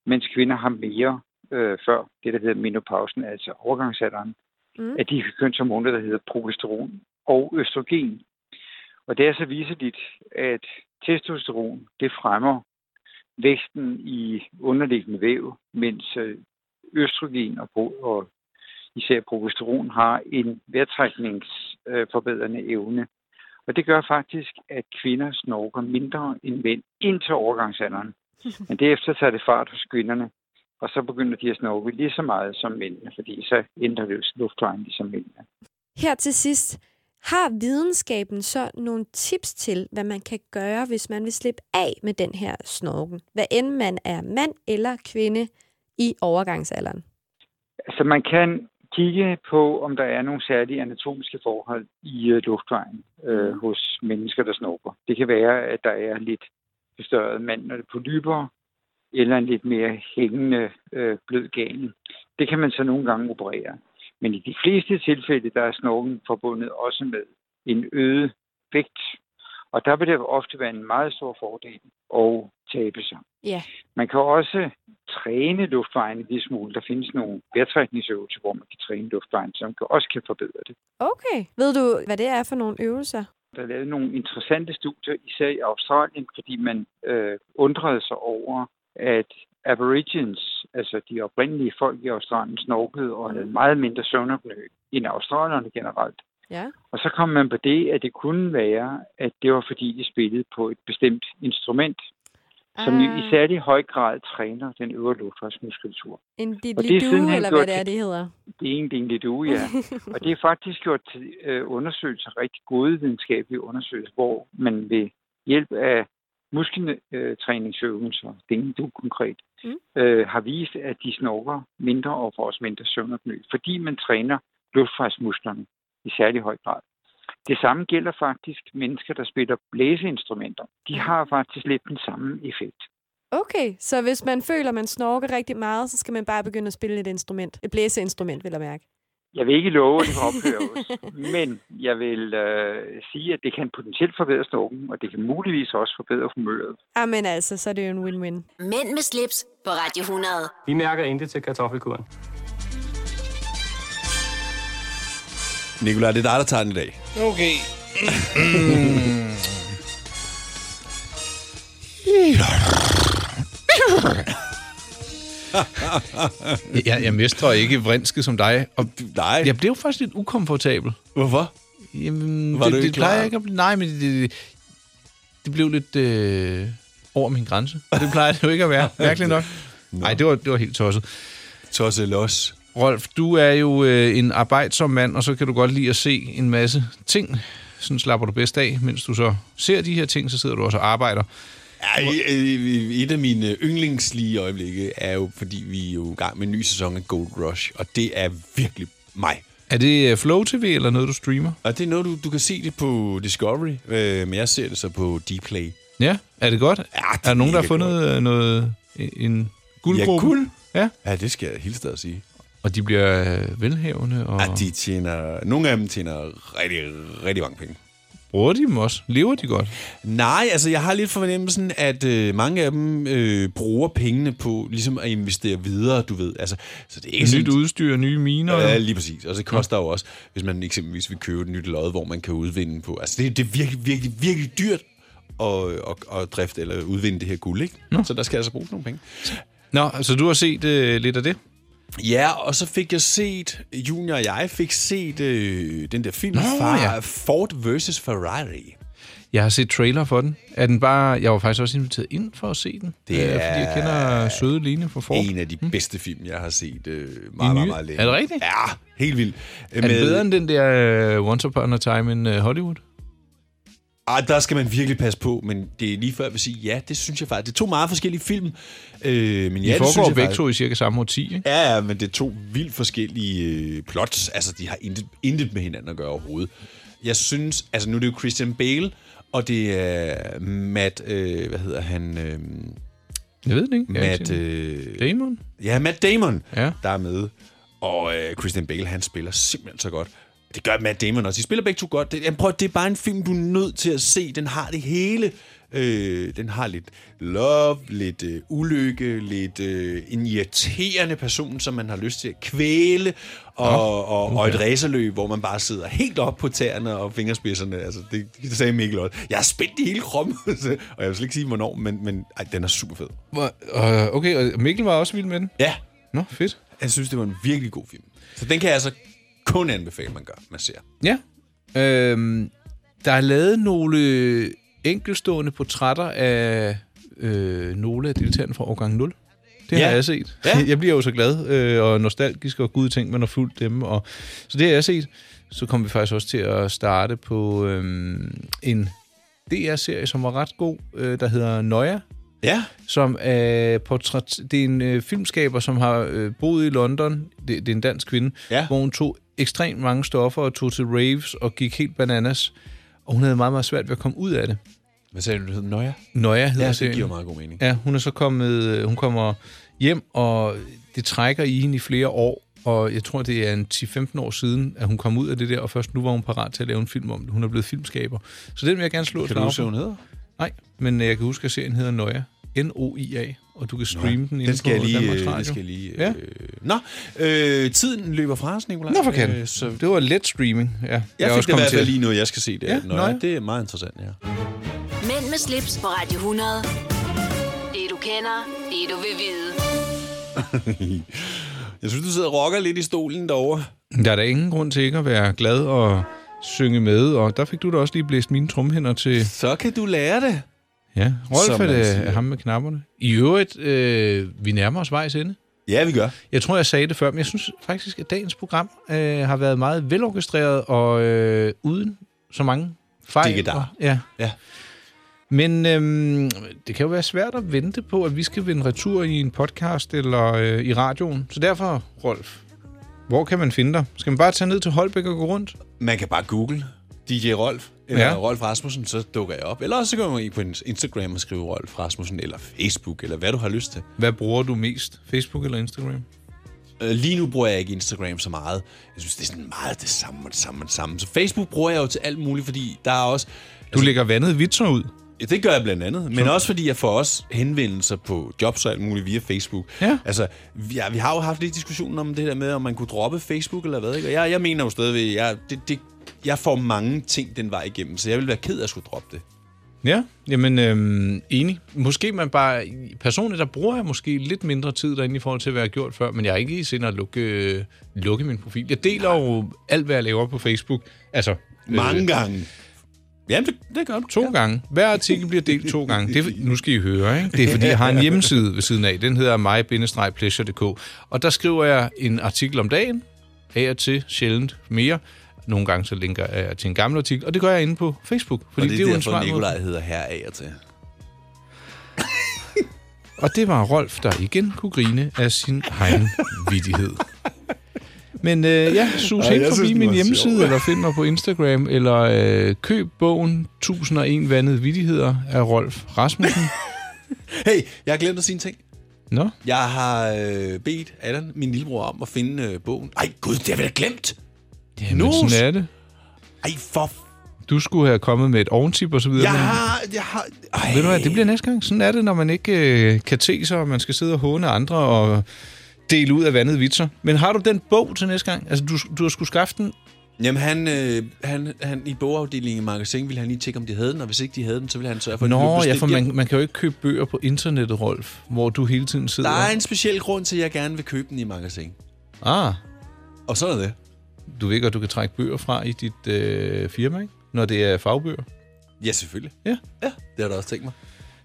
[SPEAKER 18] mens kvinder har mere øh, før det, der hedder menopausen, altså overgangsalderen,
[SPEAKER 17] mm.
[SPEAKER 18] af de kønshormoner, der hedder progesteron og østrogen. Og det er så viseligt, at testosteron det fremmer væksten i underliggende væv, mens øh, østrogen og, pro- og især progesteron har en vejrtrækningsforbedrende evne. Og det gør faktisk, at kvinder snorker mindre end mænd indtil overgangsalderen. Men derefter tager det fart hos kvinderne, og så begynder de at snorke lige så meget som mændene, fordi så ændrer det jo luftvejen ligesom mændene.
[SPEAKER 17] Her til sidst, har videnskaben så nogle tips til, hvad man kan gøre, hvis man vil slippe af med den her snorken? Hvad end man er mand eller kvinde i overgangsalderen.
[SPEAKER 18] Så Altså, man kan kigge på, om der er nogle særlige anatomiske forhold i øh, luftvejen øh, hos mennesker, der snorker. Det kan være, at der er lidt forstørret mandler på lyber, eller en lidt mere hængende øh, blød gane. Det kan man så nogle gange operere. Men i de fleste tilfælde, der er snorken forbundet også med en øget vægt. Og der vil det ofte være en meget stor fordel at tabe sig.
[SPEAKER 17] Ja.
[SPEAKER 18] Man kan også træne luftvejen en lille smule. Der findes nogle vejrtrækningsøvelser, hvor man kan træne luftvejen, som kan, også kan forbedre det.
[SPEAKER 17] Okay. Ved du, hvad det er for nogle øvelser?
[SPEAKER 18] Der er lavet nogle interessante studier, især i Australien, fordi man øh, undrede sig over, at aborigines, altså de oprindelige folk i Australien, snorkede og
[SPEAKER 17] Mm.
[SPEAKER 18] havde meget mindre søvnopnø end australierne generelt.
[SPEAKER 17] Ja.
[SPEAKER 18] Og så kom man på det, at det kunne være, at det var fordi, de spillede på et bestemt instrument, som jo i
[SPEAKER 17] Ah.
[SPEAKER 18] særlig høj grad træner den øvre luftvejsmuskulatur.
[SPEAKER 17] En
[SPEAKER 18] Og det er
[SPEAKER 17] didlidu,
[SPEAKER 18] sidenhen
[SPEAKER 17] eller
[SPEAKER 18] gjort
[SPEAKER 17] hvad det er,
[SPEAKER 18] til-
[SPEAKER 17] det hedder.
[SPEAKER 18] Det er en del, det du, ja. Og det er faktisk gjort til øh, undersøgelser, rigtig gode videnskabelige undersøgelser, hvor man ved hjælp af muskeltræningsøvelser, det du konkret,
[SPEAKER 17] Mm.
[SPEAKER 18] øh, har vist, at de snorker mindre og får også mindre søvnopnø, fordi man træner luftvejsmusklerne i særlig høj grad. Det samme gælder faktisk mennesker, der spiller blæseinstrumenter. De har faktisk lidt den samme effekt.
[SPEAKER 17] Okay, så hvis man føler, man snorker rigtig meget, så skal man bare begynde at spille et instrument. Et blæseinstrument, vil jeg mærke.
[SPEAKER 18] Jeg vil ikke love, at det kan ophøres, men jeg vil øh, sige, at det kan potentielt forbedre snorken, og det kan muligvis også forbedre humøret.
[SPEAKER 17] Amen altså, så er det jo en win-win.
[SPEAKER 1] Mænd med slips på Radio 100.
[SPEAKER 4] Vi mærker intet til kartoffelkuren.
[SPEAKER 3] Nikolaj, det er dig, der tager den i dag.
[SPEAKER 2] Okay. jeg, jeg mestrer ikke vrinske som dig. Og
[SPEAKER 3] Nej.
[SPEAKER 2] Jeg blev faktisk lidt ukomfortabel.
[SPEAKER 3] Hvorfor?
[SPEAKER 2] Jamen,
[SPEAKER 3] Var
[SPEAKER 2] det,
[SPEAKER 3] du ikke
[SPEAKER 2] det plejer
[SPEAKER 3] klar?
[SPEAKER 2] jeg ikke at blive. Nej, men det, det, det blev lidt øh, over min grænse. Og det plejer det jo ikke at være. Mærkeligt nok. Nej, det var, det var helt tosset.
[SPEAKER 3] Tosset los.
[SPEAKER 2] Rolf, du er jo øh, en arbejdsom mand, og så kan du godt lide at se en masse ting. Sådan slapper du bedst af, mens du så ser de her ting, så sidder du også og arbejder.
[SPEAKER 3] Ja, i- i- et af mine yndlingslige øjeblikke er jo, fordi vi er jo i gang med en ny sæson af Gold Rush, og det er virkelig mig.
[SPEAKER 2] Er det øh, Flow TV eller noget, du streamer?
[SPEAKER 3] Og det er noget, du, du kan se det på Discovery, øh, men jeg ser det så på Dplay.
[SPEAKER 2] Ja, er det godt? Ja,
[SPEAKER 3] det
[SPEAKER 2] er der nogen, der har
[SPEAKER 3] mega
[SPEAKER 2] fundet godt. noget, en, en guldgruppe?
[SPEAKER 3] Ja, guld.
[SPEAKER 2] Ja.
[SPEAKER 3] ja, det skal jeg helt stadig sige.
[SPEAKER 2] Og de bliver øh, velhavende, og
[SPEAKER 3] Ja, de tjener, nogle af dem tjener rigtig, rigtig mange penge.
[SPEAKER 2] bruger de dem også? Lever de godt?
[SPEAKER 3] Nej, altså jeg har lidt fornemmelsen, at øh, mange af dem øh, bruger pengene på ligesom at investere videre, du ved. Altså, så det er ikke
[SPEAKER 2] Nyt
[SPEAKER 3] sådan-
[SPEAKER 2] udstyr, nye miner.
[SPEAKER 3] Ja, lige præcis. Og det koster jo også, hvis man eksempelvis vil købe et nyt lod, hvor man kan udvinde på. Altså, det, det er virkelig, virkelig, virkelig dyrt at, at, at drifte eller udvinde det her guld, ikke? Nå. Så der skal altså bruges nogle penge.
[SPEAKER 2] Nå, så du har set øh, lidt af det?
[SPEAKER 3] Ja, og så fik jeg set, Junior og jeg fik set øh, den der film,
[SPEAKER 2] Nå,
[SPEAKER 3] Nå,
[SPEAKER 2] ja.
[SPEAKER 3] ja. Ford vs. Ferrari.
[SPEAKER 2] Jeg har set trailer for den. Er den bare... Jeg var faktisk også inviteret ind for at se den.
[SPEAKER 3] Det
[SPEAKER 2] øh,
[SPEAKER 3] er-
[SPEAKER 2] Fordi jeg kender søde Line fra Ford.
[SPEAKER 3] En af de bedste film, jeg har set øh, meget,
[SPEAKER 2] nye?
[SPEAKER 3] meget, meget længe.
[SPEAKER 2] Er Hmm. det rigtigt?
[SPEAKER 3] Ja, helt vildt.
[SPEAKER 2] Er den bedre end den der uh, Once Upon a Time in øh, Hollywood?
[SPEAKER 3] Ah, der skal man virkelig passe på, men det er lige før, jeg vil sige, ja, det synes jeg faktisk. Det er to meget forskellige film. Øh, men
[SPEAKER 2] De
[SPEAKER 3] ja, det synes
[SPEAKER 2] foregår
[SPEAKER 3] jeg
[SPEAKER 2] begge
[SPEAKER 3] faktisk-
[SPEAKER 2] to i cirka samme årti, ikke?
[SPEAKER 3] Ja, ja, men det er to vildt forskellige øh, plots. Altså, de har intet, intet med hinanden at gøre overhovedet. Jeg synes, altså nu er det jo Christian Bale, og det er Matt, øh, hvad hedder han? Øh,
[SPEAKER 2] Jeg ved det ikke. Jeg har ikke
[SPEAKER 3] Matt,
[SPEAKER 2] set den.
[SPEAKER 3] øh,
[SPEAKER 2] Damon?
[SPEAKER 3] Ja, Matt Damon,
[SPEAKER 2] ja.
[SPEAKER 3] der er med. Og øh, Christian Bale, han spiller simpelthen så godt. Det gør Matt Damon også. De spiller begge to godt. Det, jamen, prøv, at- det er bare en film, du er nødt til at se. Den har det hele. Øh, den har lidt love, lidt øh, ulykke, lidt øh, en irriterende person, som man har lyst til at kvæle, og, og, og, og et racerløb, hvor man bare sidder helt op på tæerne og fingerspidserne. Altså, det, det sagde Mikkel også. Jeg er spændt i hele kroppen, og jeg vil slet ikke sige, hvornår, men, men ej, den er super fed.
[SPEAKER 2] Hvor- øh, Okay, og Mikkel var også vild med den?
[SPEAKER 3] Ja.
[SPEAKER 2] Nå, fedt.
[SPEAKER 3] Jeg synes, det var en virkelig god film. Så den kan jeg altså kun anbefale, man gør, man ser.
[SPEAKER 2] Ja. Øhm, der er lavet nogle enkelstående portrætter af øh, nogle af deltagerne fra årgang 0. Det har
[SPEAKER 3] Ja.
[SPEAKER 2] jeg set.
[SPEAKER 3] Ja.
[SPEAKER 2] Jeg bliver jo så glad øh, og nostalgisk og gud ting, man har fulgt dem. Og, så det har jeg set. Så kom vi faktisk også til at starte på øhm, en DR-serie, som var ret god, øh, der hedder Nøja.
[SPEAKER 3] Ja.
[SPEAKER 2] Som er portræt... Det er en øh, filmskaber, som har øh, boet i London. Det, det er en dansk kvinde.
[SPEAKER 3] Ja.
[SPEAKER 2] Hvor hun tog ekstremt mange stoffer og tog til raves og gik helt bananas. Og hun havde meget, meget svært ved at komme ud af det.
[SPEAKER 3] Hvad sagde du, du hed? Nøja?
[SPEAKER 2] Nøja hedder
[SPEAKER 3] Ja, det
[SPEAKER 2] serien.
[SPEAKER 3] giver meget god mening.
[SPEAKER 2] Ja, hun er så kommet, øh, hun kommer hjem, og det trækker i hende i flere år, og jeg tror, det er en 10-15 år siden, at hun kom ud af det der, og først nu var hun parat til at lave en film om det. Hun er blevet filmskaber. Så den vil jeg gerne slå et
[SPEAKER 3] Kan du
[SPEAKER 2] slag
[SPEAKER 3] huske,
[SPEAKER 2] for.
[SPEAKER 3] hvad hun hedder?
[SPEAKER 2] Nej, men øh, jeg kan huske, at serien hedder Nøja. N-O-I-A, og du kan streame den inde
[SPEAKER 3] Den skal, jeg
[SPEAKER 2] på
[SPEAKER 3] lige,
[SPEAKER 2] Danmarks
[SPEAKER 3] øh,
[SPEAKER 2] Radio.
[SPEAKER 3] den skal jeg lige... Øh,
[SPEAKER 2] Ja.
[SPEAKER 3] ja. Nå, øh, tiden løber fra os, Nicolaj.
[SPEAKER 2] Nå, for kan.
[SPEAKER 3] Øh, så
[SPEAKER 2] Det var let streaming. Ja,
[SPEAKER 3] jeg, jeg
[SPEAKER 2] er
[SPEAKER 3] fik da i
[SPEAKER 2] kommet
[SPEAKER 3] hvert
[SPEAKER 2] til
[SPEAKER 3] fald
[SPEAKER 2] at-
[SPEAKER 3] lige noget, jeg skal se det.
[SPEAKER 2] Ja,
[SPEAKER 3] Ja,
[SPEAKER 2] nøje.
[SPEAKER 3] nøje, det er meget interessant, ja.
[SPEAKER 1] Mænd med slips på Radio 100. Det du kender, det du vil vide.
[SPEAKER 3] jeg synes, du sidder og rocker lidt i stolen derovre.
[SPEAKER 2] Der er da ingen grund til ikke at være glad og synge med, og der fik du da også lige blæst mine trumhænder til...
[SPEAKER 3] Så kan du lære det.
[SPEAKER 2] Ja, Rolf
[SPEAKER 3] Som
[SPEAKER 2] er
[SPEAKER 3] man
[SPEAKER 2] det
[SPEAKER 3] siger.
[SPEAKER 2] er ham med knapperne. I øvrigt, øh, vi nærmer os vejs ende.
[SPEAKER 3] Ja, vi gør.
[SPEAKER 2] Jeg tror, jeg sagde det før, men jeg synes faktisk, at dagens program øh, har været meget velorkestreret og øh, uden så mange fejl.
[SPEAKER 3] Dikke dar.
[SPEAKER 2] Og- Ja.
[SPEAKER 3] Ja.
[SPEAKER 2] Men øhm, det kan jo være svært at vente på, at vi skal vende retur i en podcast eller øh, i radioen. Så derfor, Rolf, hvor kan man finde dig? Skal man bare tage ned til Holbæk og gå rundt?
[SPEAKER 3] Man kan bare google DJ Rolf, eller
[SPEAKER 2] Ja.
[SPEAKER 3] ja. Rolf Rasmussen, så dukker jeg op. Eller også så går man ind på Instagram og skriver Rolf Rasmussen, eller Facebook, eller hvad du har lyst til.
[SPEAKER 2] Hvad bruger du mest? Facebook eller Instagram?
[SPEAKER 3] Øh, Lige nu bruger jeg ikke Instagram så meget. Jeg synes, det er sådan meget det samme og det samme og det samme. Så Facebook bruger jeg jo til alt muligt, fordi der er også... Du
[SPEAKER 2] lægger vandet vitser ud.
[SPEAKER 3] Ja, det gør jeg blandt andet. Men også fordi jeg får også henvendelser på jobs og alt muligt via Facebook. Ja. Altså, vi, ja, vi har jo haft lidt diskussionen om det der med, om man kunne droppe Facebook eller hvad. Ikke? Og jeg, jeg mener jo stadigvæk, jeg, det, det, jeg får mange ting den vej igennem, så jeg vil være ked af at skulle droppe det.
[SPEAKER 2] Ja, jamen øhm, enig. Måske man bare... Personligt, der bruger jeg måske lidt mindre tid derinde i forhold til, hvad jeg har gjort før, men jeg er ikke i sinde at lukke, øh, lukke min profil. Jeg deler jo alt, hvad jeg laver på Facebook. Altså...
[SPEAKER 3] Mange gange. Jamen, det, det gør du.
[SPEAKER 2] To gange. Hver artikel bliver delt to gange. Det, er- nu skal I høre, ikke? Det er, fordi jeg har en hjemmeside ved siden af. Den hedder mig-pleasure.dk. Og der skriver jeg en artikel om dagen. Af og til sjældent mere. Nogle gange så linker jeg til en gammel artikel. Og det gør jeg inde på Facebook.
[SPEAKER 3] Fordi og det er, det
[SPEAKER 2] en
[SPEAKER 3] er derfor,
[SPEAKER 2] smart måde.
[SPEAKER 3] Nikolaj hedder her af og til.
[SPEAKER 2] Og det var Rolf, der igen kunne grine af sin egen vidighed. Men øh, ja, sus
[SPEAKER 3] Ej,
[SPEAKER 2] helt
[SPEAKER 3] jeg synes,
[SPEAKER 2] forbi
[SPEAKER 3] den
[SPEAKER 2] min
[SPEAKER 3] var
[SPEAKER 2] hjemmeside,
[SPEAKER 3] sjov.
[SPEAKER 2] eller find mig på Instagram, eller øh, køb bogen 1001 Vandede Vidigheder af Rolf Rasmussen.
[SPEAKER 3] Hey, jeg har glemt at sige en ting.
[SPEAKER 2] Nå?
[SPEAKER 3] Jeg har øh, bedt Allan, min lillebror, om at finde øh, bogen. Ej gud, det har jeg da glemt!
[SPEAKER 2] Jamen,
[SPEAKER 3] Nus!
[SPEAKER 2] sådan er det.
[SPEAKER 3] Ej, for...
[SPEAKER 2] Du skulle have kommet med et ovntip og så videre.
[SPEAKER 3] Jeg
[SPEAKER 2] men-
[SPEAKER 3] har, jeg har...
[SPEAKER 2] Ved du hvad, det bliver næste gang. Sådan er det, når man ikke øh, kan te sig, og man skal sidde og håne andre og dele ud af vandede vitser. Men har du den bog til næste gang? Altså, du, du har skulle skaffe den.
[SPEAKER 3] Jamen, han, øh, han, han, i bogafdelingen i magasin ville han lige tjekke, om de havde den, og hvis ikke de havde den, så ville han sørge for, at den blev
[SPEAKER 2] Nå, ja,
[SPEAKER 3] bestilt
[SPEAKER 2] for man,
[SPEAKER 3] hjem.
[SPEAKER 2] man kan jo ikke købe bøger på internettet, Rolf, hvor du hele tiden sidder.
[SPEAKER 3] Der er en speciel grund til, at jeg gerne vil købe den i magasin.
[SPEAKER 2] Ah.
[SPEAKER 3] Og så er det.
[SPEAKER 2] Du ved godt, du kan trække bøger fra i dit øh, firma, ikke? Når det er fagbøger.
[SPEAKER 3] Ja, selvfølgelig.
[SPEAKER 2] Ja.
[SPEAKER 3] Ja, det har du også tænkt mig.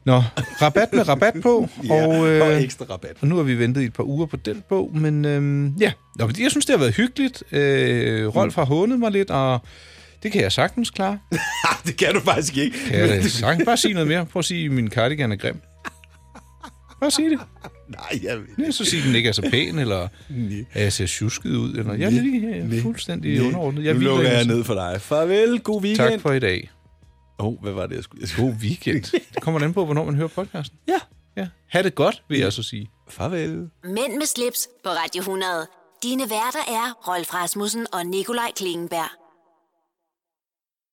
[SPEAKER 2] Nå, rabat med rabat på. øh,
[SPEAKER 3] Ja, og ekstra rabat.
[SPEAKER 2] Og nu har vi ventet i et par uger på den bog, men øhm, ja. Nå, men jeg synes, det har været hyggeligt. Øh, Rolf har hånet mig lidt, og det kan jeg sagtens klare.
[SPEAKER 3] Ah, det kan du faktisk ikke.
[SPEAKER 2] Kan jeg da sagtens bare sige noget mere? Prøv at sige, at min cardigan er grim. Bare sige det.
[SPEAKER 3] Nej, jeg ved
[SPEAKER 2] Ja, så sige, at den ikke er så pæn, eller
[SPEAKER 3] Nej.
[SPEAKER 2] at jeg ser tjusket ud. Eller, jeg er lige øh, fuldstændig underordnet.
[SPEAKER 3] Jeg nu
[SPEAKER 2] hviler i
[SPEAKER 3] lukker
[SPEAKER 2] mig
[SPEAKER 3] jeg
[SPEAKER 2] selv.
[SPEAKER 3] ned for dig. Farvel, god weekend.
[SPEAKER 2] Tak for i dag.
[SPEAKER 3] Åh, oh, hvad var det, jeg skulle... Jeg
[SPEAKER 2] skulle... God weekend. Det kommer an på, hvornår man hører podcasten.
[SPEAKER 3] Ja.
[SPEAKER 2] ja. Ha' det godt, vil jeg så sige.
[SPEAKER 3] Farvel.
[SPEAKER 1] Mænd med slips på Radio 100. Dine værter er Rolf Rasmussen og Nikolaj Klingenberg.